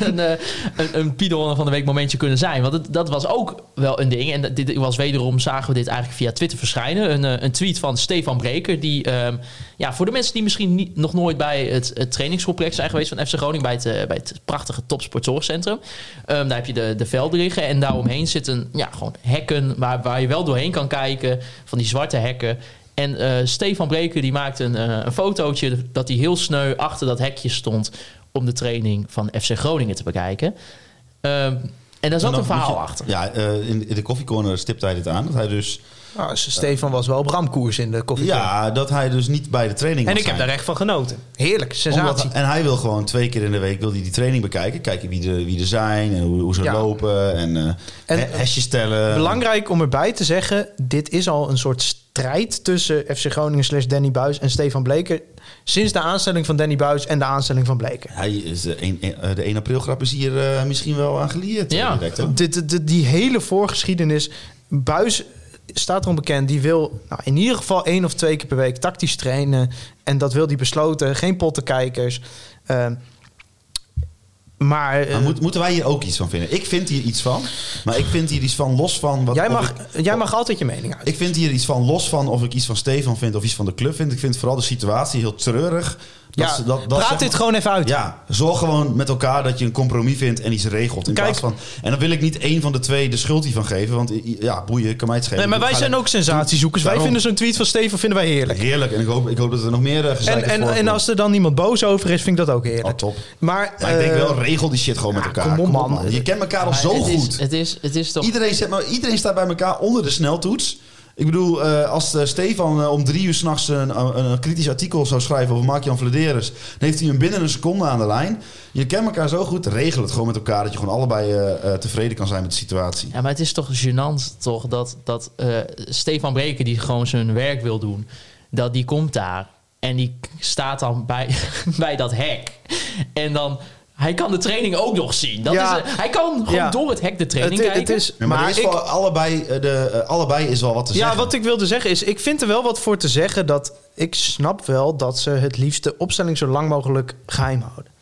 S4: een, eh, een, een Pieter van de Week momentje kunnen zijn. Want het- dat was ook wel een ding. En dat- dit was wederom, zagen we dit eigenlijk via Twitter verschijnen. Een, eh, een tweet van Stefan Breker. Die, ehm, ja, voor de mensen die misschien niet, nog nooit bij het, het trainingscomplex zijn geweest van FC Groningen. Bij het, eh, bij het prachtige topsportzorgcentrum. Ehm, daar heb je de, de velden liggen. En daaromheen zitten ja, gewoon hekken waar, waar je wel doorheen kan kijken. Van die zwarte hekken. En eh, Stefan Breker die maakte een, eh, een fotootje dat hij heel sneu achter dat hekje stond om de training van FC Groningen te bekijken. Ehm, en daar zat
S5: Nou,
S6: Dan
S4: een verhaal
S6: moet je-
S4: achter.
S6: Ja, eh, in, in de koffiecorner stipt hij dit aan. Dat hij dus,
S5: Nou, Stefan was wel op ramkoers in de koffie.
S6: ja, dat hij dus niet bij de training
S5: En
S6: mag
S5: ik heb
S6: zijn.
S5: daar echt van genoten. Heerlijk,
S6: Omdat-
S5: sensatie.
S6: en hij wil gewoon twee keer in de week wil hij die training bekijken. Kijken wie, de, wie er zijn en hoe, hoe ze
S5: Ja.
S6: lopen en, eh
S5: En-
S6: he- hesjes tellen.
S5: Belangrijk om erbij te zeggen, dit is al een soort strijd tussen FC Groningen slash Danny Buis en Stefan Bleker. Sinds de aanstelling van Danny Buis en de aanstelling van Bleker.
S6: Hij is de, 1, de 1 april grap is hier eh, misschien wel aan gelieerd. eh,
S4: Ja.
S6: direct, hoor.
S5: Dit- dit- dit- die hele voorgeschiedenis. Buis staat erom bekend. Die wil nou, in ieder geval één of twee keer per week tactisch trainen. En dat wil hij besloten. Geen pottenkijkers. Eh, maar eh,
S6: Maar moet- moeten wij hier ook iets van vinden? Ik vind hier iets van, maar ik vind hier iets van los van... Wat,
S5: jij,
S6: of
S5: mag,
S6: ik,
S5: jij mag altijd je mening uit.
S6: ik vind hier iets van los van of ik iets van Stefan vind of iets van de club vind. Ik vind vooral de situatie heel treurig. Dat
S5: ja,
S6: ze- dat- dat,
S5: praat
S6: zeg
S5: dit
S6: maar-
S5: gewoon even uit.
S6: Ja, zorg gewoon met elkaar dat je een compromis vindt en iets regelt. In
S5: Kijk.
S6: plaats van, en dan wil ik niet één van de twee de schuld hiervan geven, want i- i- ja, boeien, kan mij het schelen.
S5: Nee, maar
S6: Ik
S5: wij
S6: ga
S5: zijn
S6: le-
S5: ook sensatiezoekers. Wij
S6: Daarom.
S5: vinden zo'n tweet van Steven vinden wij heerlijk.
S6: Heerlijk, en ik hoop, ik hoop dat er nog meer uh,
S5: En, en, en als er dan iemand boos over is, vind ik dat ook
S6: Oh,
S5: heerlijk.
S6: top.
S5: Maar,
S6: Maar ik denk
S5: eh,
S6: wel, regel die shit gewoon met
S5: ja,
S6: elkaar.
S5: kom op, man.
S6: Je kent elkaar al
S4: Maar
S6: zo
S4: het
S6: goed.
S4: Is, het, is, het is toch...
S6: Iedereen, zet, maar iedereen staat bij elkaar onder de sneltoets. Ik bedoel, eh, als eh, Stefan eh, om drie uur s'nachts een, eh, een, een kritisch artikel zou schrijven over Mark-Jan Vladeres, dan heeft hij hem binnen een seconde aan de lijn. Je kent elkaar zo goed, regel het gewoon met elkaar dat je gewoon allebei eh, eh, tevreden kan zijn met de situatie.
S4: Ja, maar het is toch gênant toch dat, dat eh, Stefan Breker die gewoon zijn werk wil doen, dat die komt daar en die k- staat dan bij, bij dat hek. En dan, hij kan de training ook nog zien. Dat
S5: Ja.
S4: is, eh, hij kan gewoon
S5: Ja.
S4: door het hek de
S5: het,
S4: training
S5: het,
S4: kijken.
S5: is...
S6: Ja, maar er is voor allebei, eh, de, eh, allebei is wel wat te
S5: ja,
S6: zeggen.
S5: wat ik wilde zeggen is, ik vind er wel wat voor te zeggen dat ik snap wel dat ze het liefst de opstelling zo lang mogelijk geheim houden.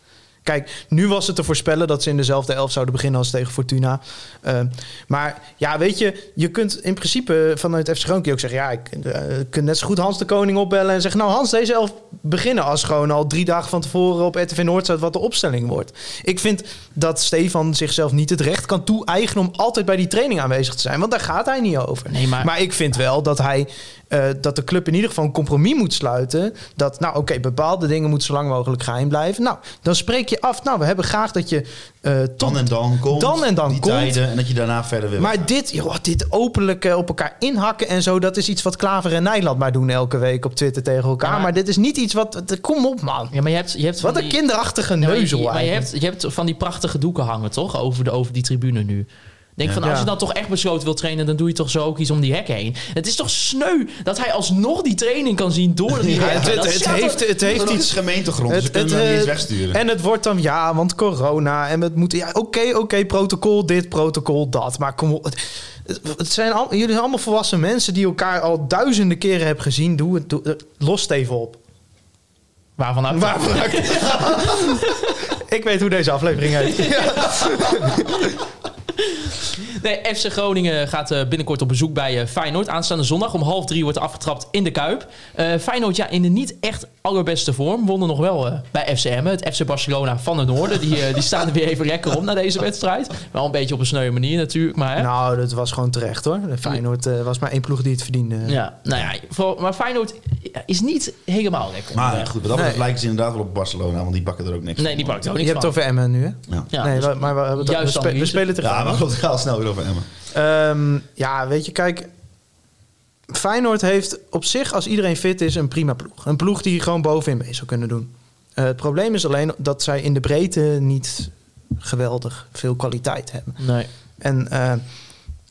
S5: Kijk, nu was het te voorspellen dat ze in dezelfde elf zouden beginnen als tegen Fortuna. Eh, maar ja, weet je, je kunt in principe vanuit FC Groningen ook zeggen... ja, ik eh, ik kan net zo goed Hans de Koning opbellen en zeggen... nou Hans, deze elf beginnen als gewoon al drie dagen van tevoren op RTV Noord staat... wat de opstelling wordt. Ik vind dat Stefan zichzelf niet het recht kan toe-eigenen... om altijd bij die training aanwezig te zijn, want daar gaat hij niet over.
S4: Nee, maar-
S5: Maar ik vind wel dat hij eh, dat de club in ieder geval een compromis moet sluiten. Dat, nou oké, bepaalde dingen moeten zo lang mogelijk geheim blijven. Nou, dan spreek je af. Nou, we hebben graag dat je eh tot.
S6: Dan en dan komt.
S5: Dan en dan
S6: die
S5: komt.
S6: tijden en dat je daarna verder wil.
S5: Maar dit, joh, dit openlijk eh, op elkaar inhakken en zo, dat is iets wat Klaver en Nijland maar doen elke week op Twitter tegen elkaar.
S4: Ja, maar-
S5: maar... dit is niet iets wat. d- Kom op, man.
S4: ja, Nou, maar je hebt, je hebt
S5: Wat
S4: van
S5: een
S4: die-
S5: kinderachtige
S4: Ja, maar je-
S5: neuzel.
S4: Maar je
S5: eigenlijk.
S4: hebt, je hebt van die prachtige doeken hangen, toch? Over, de, over die tribune nu. Denk van, als je
S5: Ja.
S4: dan toch echt besloten wil trainen, dan doe je toch zo ook iets om die hek heen. Het is toch sneu dat hij alsnog die training kan zien door die hek.
S5: het,
S4: Dat
S5: het,
S4: slaat toch-
S5: heeft, het heeft
S6: Het
S5: iets
S6: is gemeentegrond, dus we
S5: Het-
S6: kunnen
S5: het,
S6: hem niet eens
S5: eh,
S6: wegsturen.
S5: En het wordt dan, ja, want corona. En het moet, ja, oké, oké, protocol dit, protocol dat. Maar kom op. Het, het- het zijn al, jullie zijn allemaal volwassen mensen die elkaar al duizenden keren hebben gezien. Doe het, doe- eh, los het even op.
S4: Waarvan
S6: Ah,
S4: nou?
S5: Waarvoor? Ik weet hoe deze aflevering heet.
S4: Nee, FC Groningen gaat eh, binnenkort op bezoek bij eh, Feyenoord. Aanstaande zondag om half drie wordt er afgetrapt in de Kuip. Eh, Feyenoord ja, in de niet echt allerbeste vorm. Wonnen nog wel eh, bij FCM, het FC Barcelona van het Noorden. Die, eh, die staan er weer even lekker op na deze wedstrijd. Wel een beetje op een sneuwe manier natuurlijk, maar... Hè.
S5: Nou, dat was gewoon terecht hoor. Feyenoord eh, was maar één ploeg die het verdiende.
S4: Ja, nou ja, vooral- maar Feyenoord is niet helemaal lekker.
S6: Maar eh, goed, wat dat betreft
S5: Nee.
S6: lijken ze inderdaad wel op Barcelona, want die bakken er ook niks
S4: Nee, die
S6: van.
S4: pakt ook
S5: Je
S4: niks
S5: hebt het
S4: van.
S5: over Emmen nu, hè?
S6: Ja.
S4: Ja,
S5: nee,
S4: dus-
S5: we, maar we, hebben het over-
S4: Juist
S5: we, spe- we
S4: analyse.
S5: spelen tegen
S6: Ja,
S5: Feyenoord.
S6: maar goed, we gaan al snel weer over Emmen.
S5: Ehm, ja, weet je, kijk. Feyenoord heeft op zich, als iedereen fit is, een prima ploeg. Een ploeg die gewoon bovenin mee zou kunnen doen. Eh, het probleem is alleen dat zij in de breedte niet geweldig veel kwaliteit hebben.
S4: Nee.
S5: En eh,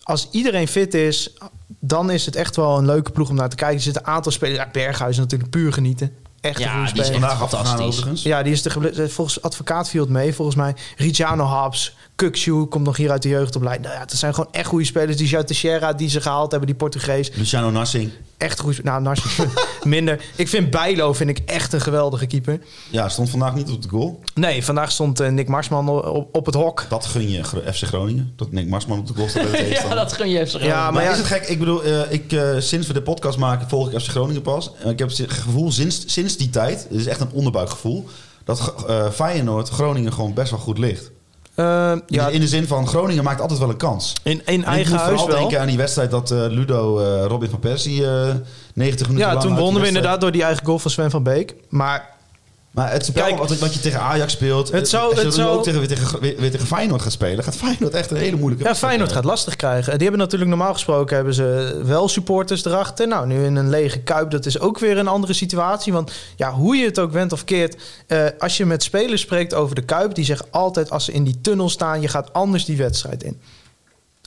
S5: als iedereen fit is, dan is het echt wel een leuke ploeg om naar te kijken. Er zitten een aantal spelers. Ja, Berghuis natuurlijk puur genieten. Echt
S4: Ja,
S5: een goede
S4: die is
S5: speler.
S4: echt
S6: Vandaag afgegaan
S4: fantastisch.
S6: overigens.
S5: Ja, die is de geble- eh, volgens advocaat viel het mee. Volgens mij Rigiano Habs, Kukshu komt nog hier uit de jeugdopleiding. Nou ja, dat zijn gewoon echt goede spelers. Die João Teixeira die ze gehaald hebben, die Portugees.
S6: Luciano Nassing.
S5: Echt goede spe- Nou, Narcissus minder. Ik vind Bijlo vind ik echt een geweldige keeper.
S6: Ja, stond vandaag niet op de goal.
S5: Nee, vandaag stond eh, Nick Marsman o- op, op het hok.
S6: Dat gun je Gro- FC Groningen. Dat Nick Marsman op de goal staat bij de
S4: Ja,
S6: tegenstander.
S4: dat gun je FC Groningen.
S5: Ja,
S6: maar
S5: maar ja,
S6: is het gek? Ik bedoel, eh, ik, eh, sinds we de podcast maken volg ik FC Groningen pas. En ik heb het gevoel sinds, sinds die tijd, het is echt een onderbuikgevoel, dat eh, Feyenoord Groningen gewoon best wel goed ligt. Dus
S5: eh, ja
S6: In de zin van, Groningen maakt altijd wel een kans.
S5: in, in
S6: En ik
S5: eigen
S6: moet
S5: huis
S6: vooral
S5: wel.
S6: denken aan die wedstrijd dat eh, Ludo eh, Robin van Persie eh, 90 minuten
S5: Ja, toen
S6: lang uit die
S5: wonnen we
S6: wedstrijd-
S5: inderdaad door die eigen goal van Sven van Beek. Maar
S6: Maar het spel
S5: Kijk,
S6: wat, wat je tegen Ajax speelt,
S5: het
S6: eh,
S5: zou-
S6: als je
S5: het
S6: dan
S5: zou-
S6: ook tegen, weer, tegen, weer, weer tegen Feyenoord gaat spelen, gaat Feyenoord echt een hele moeilijke
S5: ja,
S6: wedstrijd
S5: Feyenoord gaat
S6: hebben.
S5: lastig krijgen. Die hebben natuurlijk normaal gesproken hebben ze wel supporters erachter. Nou, nu in een lege kuip, dat is ook weer een andere situatie. Want ja, hoe je het ook went of keert, eh, als je met spelers spreekt over de kuip, die zeggen altijd als ze in die tunnel staan, je gaat anders die wedstrijd in.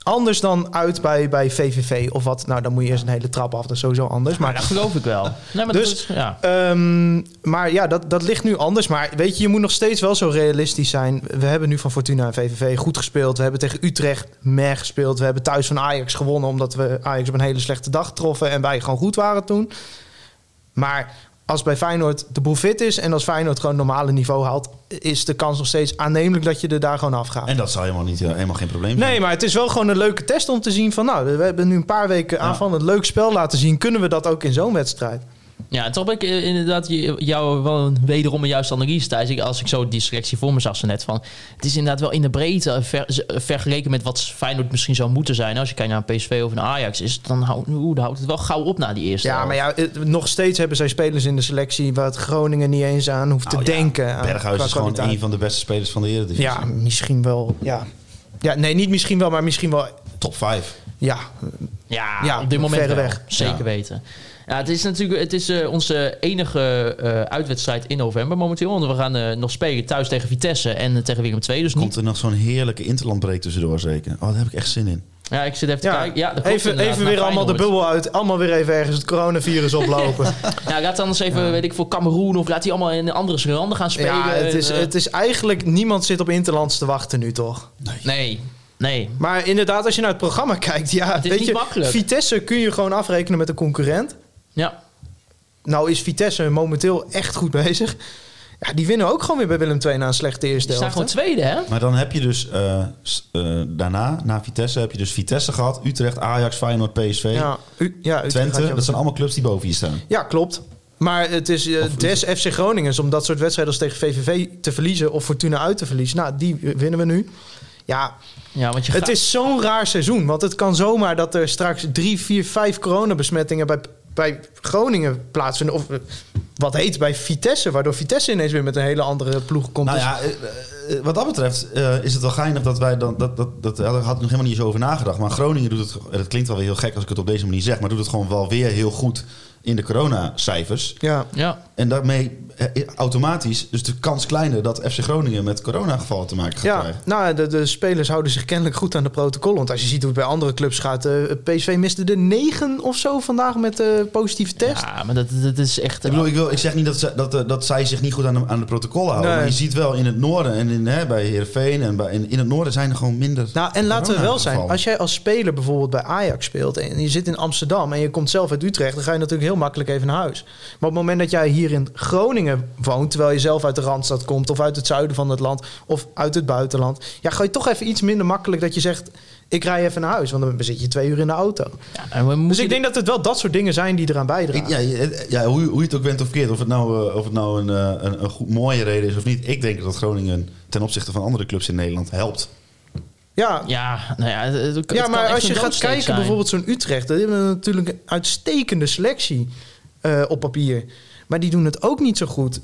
S5: Anders dan uit bij, bij VVV of wat. Nou, dan moet je eerst een hele trap af. Dat is sowieso anders. Maar
S4: dat geloof ik wel. Nee, maar
S5: Dus-
S4: dat is, ja.
S5: Ehm, maar ja, dat, dat ligt nu anders. Maar weet je, je moet nog steeds wel zo realistisch zijn. We hebben nu van Fortuna en VVV goed gespeeld. We hebben tegen Utrecht mer gespeeld. We hebben thuis van Ajax gewonnen... omdat we Ajax op een hele slechte dag troffen... en wij gewoon goed waren toen. Maar als bij Feyenoord de boel fit is... en als Feyenoord gewoon normale niveau haalt... is de kans nog steeds aannemelijk dat je er daar gewoon afgaat.
S6: En dat zou helemaal, niet, eh, helemaal geen probleem zijn.
S5: Nee, maar het is wel gewoon een leuke test om te zien van... nou, we hebben nu een paar weken aan van een leuk spel laten zien. Kunnen we dat ook in zo'n wedstrijd?
S4: Ja, en toch ben ik eh, inderdaad je- jou wel een wederom een juiste analyse thuis. Ik, als ik zo die selectie voor me zag zo net van... Het is inderdaad wel in de breedte eh, ver- z- eh, vergeleken met wat Feyenoord misschien zou moeten zijn. Als je kijkt naar een PSV of een Ajax, is het, dan, houdt, oeh, dan houdt het wel gauw op na die eerste.
S5: Ja,
S4: helft.
S5: maar ja, het- nog steeds hebben zij spelers in de selectie waar het Groningen niet eens aan hoeft te
S6: Nou ja,
S5: denken. aan-
S6: Berghuis
S5: qua
S6: is gewoon
S5: kwaliteit.
S6: een van de beste spelers van de Eredivisie.
S5: Ja, misschien wel. Ja. ja, nee, niet misschien wel, maar misschien wel.
S6: Top 5.
S5: Ja,
S4: Ja,
S5: Ja,
S4: op dit moment
S5: verreweg.
S4: wel. Zeker
S6: Ja.
S4: weten. Ja, het is natuurlijk het is, eh, onze enige eh, uitwedstrijd in november momenteel. Want we gaan eh, nog spelen thuis tegen Vitesse en eh, tegen Willem II. Dus
S6: Komt
S4: niet...
S6: er nog zo'n heerlijke interlandbreek tussendoor zeker? Oh, daar heb ik echt zin in.
S4: Ja, ik zit even te
S5: ja.
S4: kijken. Ja, dat klopt
S5: even,
S4: inderdaad,
S5: even
S4: naar
S5: weer allemaal de
S4: Feyenoord.
S5: bubbel uit. Allemaal weer even ergens het coronavirus oplopen.
S4: Nou, laat dan eens even, weet ik veel, Cameroen of laat die allemaal in andere landen gaan spelen.
S5: ja, het is,
S4: En, eh,
S5: het is eigenlijk... Niemand zit op Interlands te wachten nu, toch?
S4: Nee, nee.
S5: Maar inderdaad, als je naar het programma kijkt... Ja,
S4: is
S5: weet
S4: niet
S5: je,
S4: makkelijk.
S5: Vitesse kun je gewoon afrekenen met een concurrent.
S4: Ja,
S5: Nou is Vitesse momenteel echt goed bezig. Ja, die winnen ook gewoon weer bij Willem II na een slechte eerste
S4: ze staan
S5: helft.
S4: gewoon
S5: hè?
S4: tweede, hè?
S6: Maar dan heb je dus eh, s- eh, daarna, na Vitesse, heb je dus Vitesse gehad. Utrecht, Ajax, Feyenoord, PSV,
S5: Ja, U- ja, Utrecht had je
S6: Twente.
S5: ook.
S6: Dat zijn allemaal clubs die boven je staan.
S5: Ja, klopt. Maar het is eh, des FC Groningen om dat soort wedstrijden als tegen VVV te verliezen of Fortuna uit te verliezen. Nou, die winnen we nu. Ja,
S4: Ja, want je
S5: het
S4: gaat-
S5: is zo'n raar seizoen. Want het kan zomaar dat er straks drie, vier, vijf coronabesmettingen bij, bij Groningen plaatsvinden. Of eh, wat heet bij Vitesse, waardoor Vitesse ineens weer met een hele andere ploeg komt.
S6: Nou
S5: Dus-
S6: ja, eh, eh, eh, wat dat betreft eh, is het wel geinig dat wij dan. Dat, dat, dat, daar had ik nog helemaal niet zo over nagedacht. Maar Groningen doet het. en Dat klinkt wel weer heel gek als ik het op deze manier zeg. Maar doet het gewoon wel weer heel goed in de coronacijfers.
S5: Dus, Ja.
S4: Ja,
S6: En daarmee eh, automatisch dus de kans kleiner dat FC Groningen met coronagevallen te maken gaat
S5: Ja,
S6: krijgen.
S5: nou, de, de spelers houden zich kennelijk goed aan de protocollen. Want als je ziet hoe het bij andere clubs gaat, eh, PSV miste er negen of zo vandaag met eh positieve test.
S4: ja maar dat, dat is echt...
S6: Ik, bedoel, ik, wil, ik zeg niet dat, ze, dat, eh, dat zij zich niet goed aan de, aan de protocollen houden.
S5: Nee.
S6: Maar je ziet wel in het noorden en in, hè, bij Heerenveen en bij, in, in het noorden zijn er gewoon minder.
S5: Nou, en laten we wel zijn,
S6: coronagevallen.
S5: als jij als speler bijvoorbeeld bij Ajax speelt en je zit in Amsterdam en je komt zelf uit Utrecht, dan ga je natuurlijk heel makkelijk even naar huis. Maar op het moment dat jij hier in Groningen woont, terwijl je zelf uit de Randstad komt of uit het zuiden van het land of uit het buitenland, ja, ga je toch even iets minder makkelijk dat je zegt, ik rij even naar huis, want dan zit je twee uur in de auto.
S4: Ja, en we
S5: Dus
S4: moeten-
S5: ik denk dat het wel dat soort dingen zijn die eraan
S6: Ik-
S5: bijdragen.
S6: ja, je- eh, ja, hoe, hoe je het ook bent of keert, of het nou, eh, of het nou een, eh, een, een goed, mooie reden is of niet. Ik denk dat Groningen ten opzichte van andere clubs in Nederland helpt.
S5: Ja,
S4: Ja, nou ja, het- het- het
S5: Ja,
S4: kan
S5: maar
S4: echt
S5: als
S4: een
S5: je gaat
S4: doodsteek
S5: kijken,
S4: zijn.
S5: bijvoorbeeld zo'n Utrecht, die hebben natuurlijk een uitstekende selectie eh, op papier. Maar die doen het ook niet zo goed.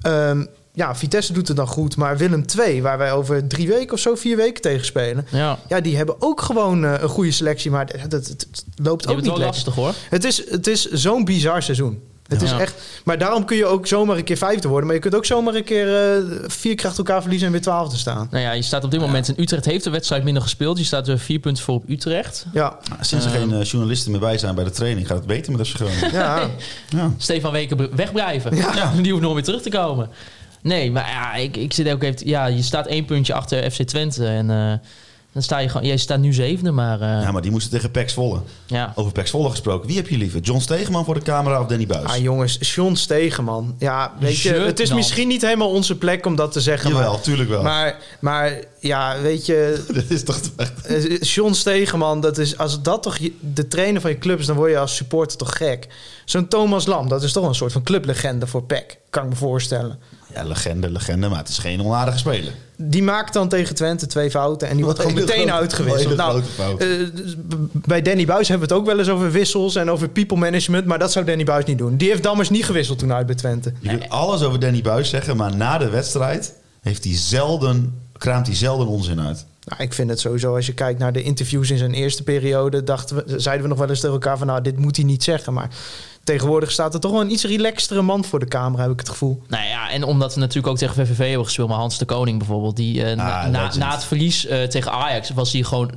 S5: Ehm, ja, Vitesse doet het dan goed, maar Willem II, waar wij over drie weken of zo, vier weken tegen spelen.
S4: Ja,
S5: Ja, die hebben ook gewoon eh, een goede selectie, maar dat, dat- het- het loopt
S4: die hebben
S5: ook
S4: het wel
S5: niet lekker.
S4: lastig hoor.
S5: Het is, het is zo'n bizar seizoen. Het is
S4: Ja.
S5: echt, maar daarom kun je ook zomaar een keer vijfde worden. Maar je kunt ook zomaar een keer eh, vier kracht elkaar verliezen en weer twaalfde staan.
S4: Nou ja, je staat op dit moment in Utrecht, heeft de wedstrijd minder gespeeld. Je staat er vier punten voor op Utrecht.
S5: Ja,
S6: Sinds er geen eh, journalisten meer bij zijn bij de training, gaat het beter met FC Groningen.
S5: ja.
S6: ja.
S4: Stefan Weken bl- wegblijven. Ja. Die hoeft nooit meer terug te komen. Nee, maar ja, ik, ik zit ook even... Ja, je staat één puntje achter FC Twente en... eh, dan sta je gewoon... Jij staat nu zevende, maar... eh,
S6: ja, maar die moesten tegen Pax Volle.
S4: ja.
S6: Over Pax Volle gesproken. Wie heb je liever? John Stegeman voor de camera of Danny Buis?
S5: Ah jongens, John Stegeman. Ja, weet je,
S4: Shut
S5: het is
S4: dan.
S5: misschien niet helemaal onze plek om dat te zeggen.
S6: Jawel, tuurlijk wel.
S5: Maar, maar, maar ja, weet je,
S6: dat is toch echt...
S5: eh, John Stegeman, dat is, als dat toch je- de trainer van je club is, dan word je als supporter toch gek. Zo'n Thomas Lam, dat is toch een soort van clublegende voor PEC, kan ik me voorstellen.
S6: Ja, legende, legende, maar het is geen onaardige speler.
S5: Die maakt dan tegen Twente twee fouten en die wordt
S6: Hele
S5: gewoon meteen
S6: grote-
S5: uitgewisseld.
S6: hele
S5: Nou,
S6: grote fout.
S5: eh, dus b- bij Danny Buis hebben we het ook wel eens over wissels en over people management, maar dat zou Danny Buis niet doen. Die heeft Dammers niet gewisseld toen uit bij Twente.
S6: Je kunt alles over Danny Buis zeggen, maar na de wedstrijd heeft hij zelden, kraamt hij zelden onzin uit.
S5: Nou, ik vind het sowieso, als je kijkt naar de interviews in zijn eerste periode, dachten we, zeiden we nog wel eens tegen elkaar van nou, dit moet hij niet zeggen. Maar tegenwoordig staat er toch wel een iets relaxtere man voor de camera, heb ik het gevoel.
S4: Nou ja, en omdat we natuurlijk ook tegen VVV hebben gespeeld. Maar Hans de Koning bijvoorbeeld, die eh, na,
S6: Ah,
S4: na-
S6: legend.
S4: na het verlies eh, tegen Ajax was hij gewoon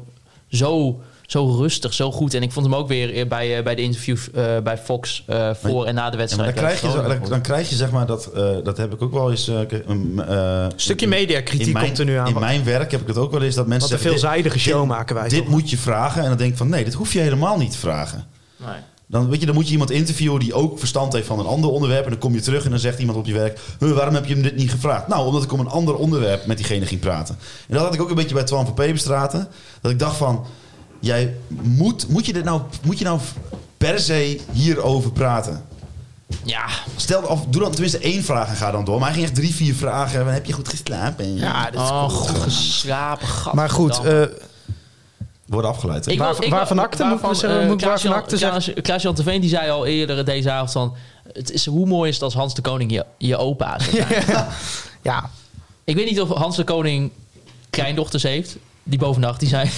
S4: zo, zo rustig, zo goed. En ik vond hem ook weer eh, bij, eh, bij de interview eh, bij Fox eh, voor en na de
S6: Ja, maar
S4: wedstrijd.
S6: dan, krijg je,
S4: tegen
S6: zo- dan,
S4: Groningen.
S6: dan krijg je zeg maar dat, eh, dat heb ik ook wel eens. eh, ke- um, eh,
S5: Stukje
S6: in-
S5: mediakritiek
S6: in mijn-
S5: komt er nu aan,
S6: In
S5: want-
S6: mijn werk heb ik het ook wel eens dat mensen.
S5: Wat een
S6: zeggen, dit-
S5: veelzijdige show
S6: dit-
S5: maken wij
S6: Dit
S5: toch?
S6: moet je vragen. En dan denk ik van nee, dit hoef je helemaal niet te vragen.
S4: Nee.
S6: Dan, weet je, dan moet je iemand interviewen die ook verstand heeft van een ander onderwerp. En dan kom je terug en dan zegt iemand op je werk: "Huh, waarom heb je hem dit niet gevraagd? Nou, omdat ik om een ander onderwerp met diegene ging praten. En dat had ik ook een beetje bij Twan van Peperstraten. Dat ik dacht van: jij moet, moet, je dit nou, moet je nou per se hierover praten?
S4: Ja,
S6: Stel, of doe dan tenminste één vraag en ga dan door. Maar hij ging echt drie, vier vragen. Heb je goed geslapen?
S5: Ja, dat is
S4: oh, goed geslapen, gat.
S5: Maar goed, eh,
S6: Worden afgeleid. hè?
S4: Ik
S5: waar-
S4: wil- ik
S5: waarvan
S4: wil-
S5: akte? Moet ik zeggen,
S4: eh,
S5: moet ik
S4: Klaas-Jan-
S5: waarvan akte
S4: Klaas- Klaas-Jan Terveen die zei al eerder deze avond van... Het is, hoe mooi is het als Hans de Koning je, je opa is?
S5: eh, ja,
S4: Ik weet niet of Hans de Koning kleindochters heeft. Die bovennacht, die zijn...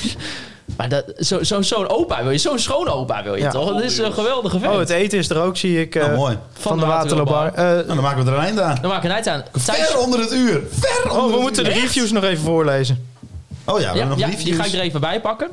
S4: Maar dat- zo- zo- zo'n opa wil je, zo'n schoon opa wil je
S5: Ja.
S4: toch? Dat is een geweldige vent.
S5: oh, het eten is er ook, zie ik. eh,
S6: Nou, mooi.
S5: Van, de Waterloobar. Eh,
S6: Nou, dan maken we er een einde aan.
S4: Dan maak ik een eind aan. Thijs,
S6: Ver onder het uur. Ver onder
S5: oh, we
S6: het
S5: moeten de
S6: uur.
S5: reviews nog even voorlezen.
S6: Oh ja, we hebben
S4: ja,
S6: nog
S4: ja,
S6: reviews.
S4: die ga ik er even bij pakken.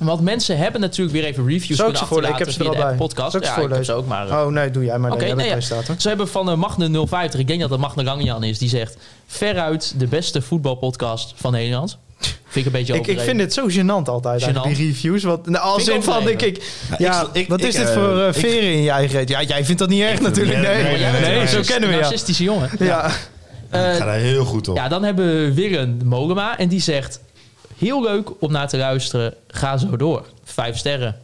S4: Want mensen hebben natuurlijk weer even reviews
S5: Zou ik
S4: kunnen
S5: ze voorlezen? Ik heb
S4: achterlaten
S5: ze er
S4: via
S5: al
S4: de
S5: bij.
S4: podcast.
S5: Zou ik
S4: Ja,
S5: ze
S4: ik heb
S5: voorlezen?
S4: ze ook maar... eh,
S5: Oh nee, doe jij maar.
S4: Oké,
S5: nee,
S4: nou ja.
S5: staat,
S4: Ze hebben van eh, Magne 050, ik denk dat dat Magne Gangjan is, die zegt... Veruit de beste voetbalpodcast van Nederland. Vind ik een beetje
S5: ik, ik
S4: overdreven.
S5: vind het zo gênant altijd, eigenlijk,
S4: Gênant.
S5: die reviews. Want, nou, als
S4: Vind ik
S5: in van, denk
S4: overdreven.
S5: ik,
S6: Ja, ik
S5: ja,
S6: sl- ik-
S5: wat
S6: ik,
S5: is dit
S6: eh,
S5: voor eh,
S6: ik-
S5: veren in je eigen reet? Ja, jij vindt dat niet erg
S6: vind-
S5: natuurlijk.
S6: nee,
S5: Nee,
S6: nee, nee, nee,
S5: nee, zo
S6: nee.
S5: kennen we
S4: Een
S5: jou.
S4: narcistische jongen.
S5: Ja.
S6: Ik ga
S4: Eh,
S6: daar heel goed op.
S4: ja, dan hebben we Wirren Mogema. En die zegt... Heel leuk om naar te luisteren. Ga zo door. Vijf sterren.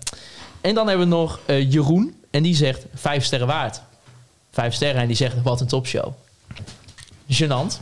S4: En dan hebben we nog eh, Jeroen. En die zegt... Vijf sterren waard. Vijf sterren. En die zegt... Wat een topshow. Genant.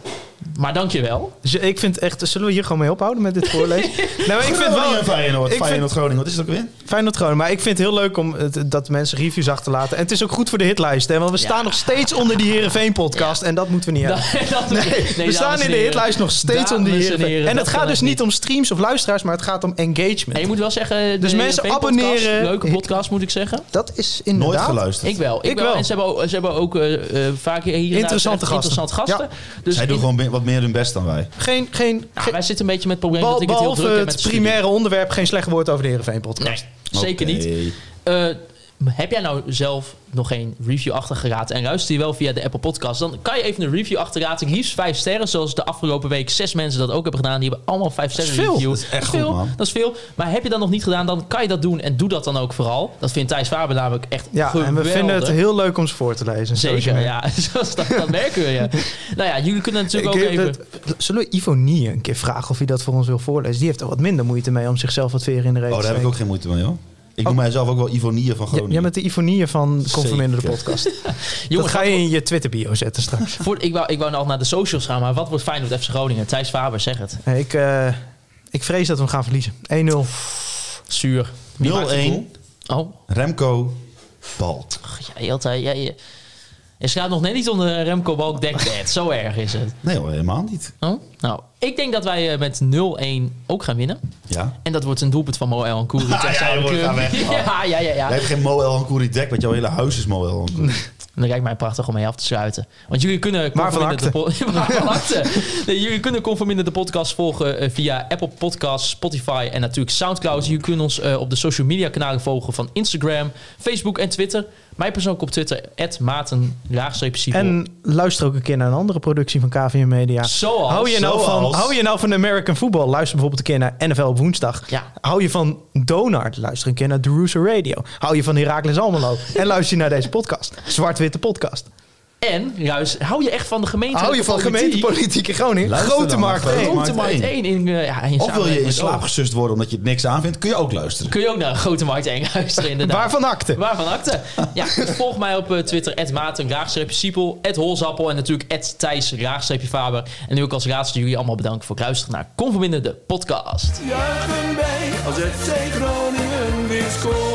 S4: Maar dankjewel.
S5: Dus ik vind echt, zullen we hier gewoon mee ophouden met dit voorlezen? nou, maar ik vind wel,
S6: Feyenoord,
S5: ik vind-
S6: Feyenoord Groningen, wat is het ook weer?
S5: Feyenoord Groningen. Maar ik vind het heel leuk om het- dat mensen reviews achterlaten. En het is ook goed voor de hitlijst. Hè? Want we staan nog steeds onder die Heerenveen podcast. En dat moeten we niet
S4: Da-
S5: hebben.
S4: dat-
S5: we
S4: dames
S5: staan
S4: en
S5: in de
S4: heren.
S5: hitlijst nog steeds onder die
S4: Dames en
S5: Heerenveen.
S4: heren,
S5: en
S4: dat
S5: het gaat
S4: kan
S5: dus
S4: echt
S5: niet om streams of luisteraars. Maar het gaat om engagement.
S4: En je moet wel zeggen... eh, de
S5: Dus mensen
S4: Heerenveen-podcast,
S5: abonneren.
S4: Leuke podcast, moet ik zeggen.
S5: Dat is
S6: Nooit
S5: inderdaad...
S6: geluisterd.
S4: Ik wel. Ik,
S5: Ik
S4: wel.
S5: wel.
S4: En ze hebben ook, ze hebben ook eh, eh, vaak hier en daar
S5: Interessante
S4: echt interessante
S5: gasten.
S4: gasten. Dus
S6: Zij doen
S4: in-
S6: gewoon be- wat meer hun best dan wij.
S5: Geen, geen,
S4: nou,
S5: geen-
S4: wij zitten een beetje met het probleem dat
S5: behal-
S4: ik het heel
S5: behalve
S4: druk heb
S5: het,
S4: met de studie.
S5: primaire onderwerp, geen slecht woord over de Heerenveen podcast.
S4: Nee, zeker
S6: Oké. Oh,
S4: niet. Eh, heb jij nou zelf nog geen review achtergeraten en luister je wel via de Apple Podcast, dan kan je even een review achterraten. Liefst vijf sterren, zoals de afgelopen week zes mensen dat ook hebben gedaan. Die hebben allemaal vijf sterren
S5: veel.
S4: review.
S6: Dat is echt
S4: veel.
S6: goed, man.
S4: Dat is veel. Maar heb je dat nog niet gedaan, dan kan je dat doen en doe dat dan ook vooral. Dat vindt Thijs Faber namelijk echt
S5: Ja,
S4: geweldig.
S5: en we vinden het heel leuk om ze voor te lezen. zoals je
S4: Zeker,
S5: merkt.
S4: ja. Zoals dat, dat merken we, ja. Nou ja, jullie kunnen natuurlijk
S5: Ik
S4: ook
S5: heb
S4: even...
S5: het- zullen we Ivo Nieën een keer vragen of hij dat voor ons wil voorlezen? Die heeft er wat minder moeite mee om zichzelf wat weer in de reet
S6: Oh,
S5: te
S6: daar heb
S5: steken.
S6: ik ook geen moeite mee, hoor.
S4: Oh.
S6: Ik noem mijzelf ook wel Ivonieën van
S5: Ja,
S6: Groningen.
S5: Jij bent de Ivo Nieën van Conforminder de
S6: Zeker.
S5: podcast.
S4: Jongens,
S5: dat ga je in je Twitter bio zetten straks.
S4: Voor, ik, wou, ik wou nog naar de socials gaan, maar wat wordt Feyenoord FC Groningen? Thijs Faber, zeg het.
S5: Nee, ik, eh, ik vrees dat we hem gaan verliezen. 1-0.
S4: Zuur. Wie maakt de goal?
S6: 0-1,
S4: Oh,
S6: Remco, Balt.
S4: ja, altijd. Ja, je, je schaadt nog net niet onder Remco Balk dekbed. Zo erg is het.
S6: Nee hoor, helemaal niet.
S4: Oh? Nou, ik denk dat wij eh, met 0-1 ook gaan winnen.
S6: Ja.
S4: En dat wordt een doelpunt van Moel en Koeri.
S6: Ja, ja, we gaan weg.
S4: ja, ja, ja, ja.
S6: Jij hebt geen Moel Hankouri dek, want jouw hele huis is Moel Hankouri.
S4: En dan lijkt mij prachtig om mee af te sluiten. Want jullie kunnen Conforminder de,
S5: van
S4: po- Waar van acte. Nee, jullie kunnen Conforminder de podcast volgen eh, via Apple Podcasts, Spotify en natuurlijk Soundcloud. Jullie kunnen ons eh, op de social media kanalen volgen van Instagram, Facebook en Twitter. Mij persoonlijk op Twitter, Maarten,
S5: En luister ook een keer naar een andere productie van KVM Media.
S4: Zoals-
S5: hou, je nou van,
S6: zoals-
S5: hou je nou van American Football? Luister bijvoorbeeld een keer naar NFL op woensdag.
S4: Ja.
S5: Hou je van Donard? Luister een keer naar Deruso Radio. Hou je van Heracles Almelo? en luister je naar deze podcast. Zwart-witte podcast.
S4: En, juist, hou je echt van de gemeente?
S5: Hou je van gemeentepolitiek in Groningen?
S6: Luister
S5: Grote
S6: dan,
S5: markt
S6: grote
S5: één.
S6: markt.
S4: Grote Markt 1 in, eh, ja, in
S6: Of wil je
S4: samenwerking
S6: in
S4: met
S6: slaap
S4: Oog.
S6: gesust worden omdat je het niks aanvindt, kun je ook luisteren.
S4: Kun je ook naar Grote Markt 1 luisteren, inderdaad.
S5: Waarvan acte?
S4: Waarvan acte? Ja, dus volg mij op eh, Twitter, Maarten, raagstreepje Siepel, Holzappel en natuurlijk Thijs, raagstreepje Faber. En nu ook als laatste jullie allemaal bedanken voor het luisteren naar Conforminder, de podcast.
S1: Juichen wij als FC Groningen weer scoort.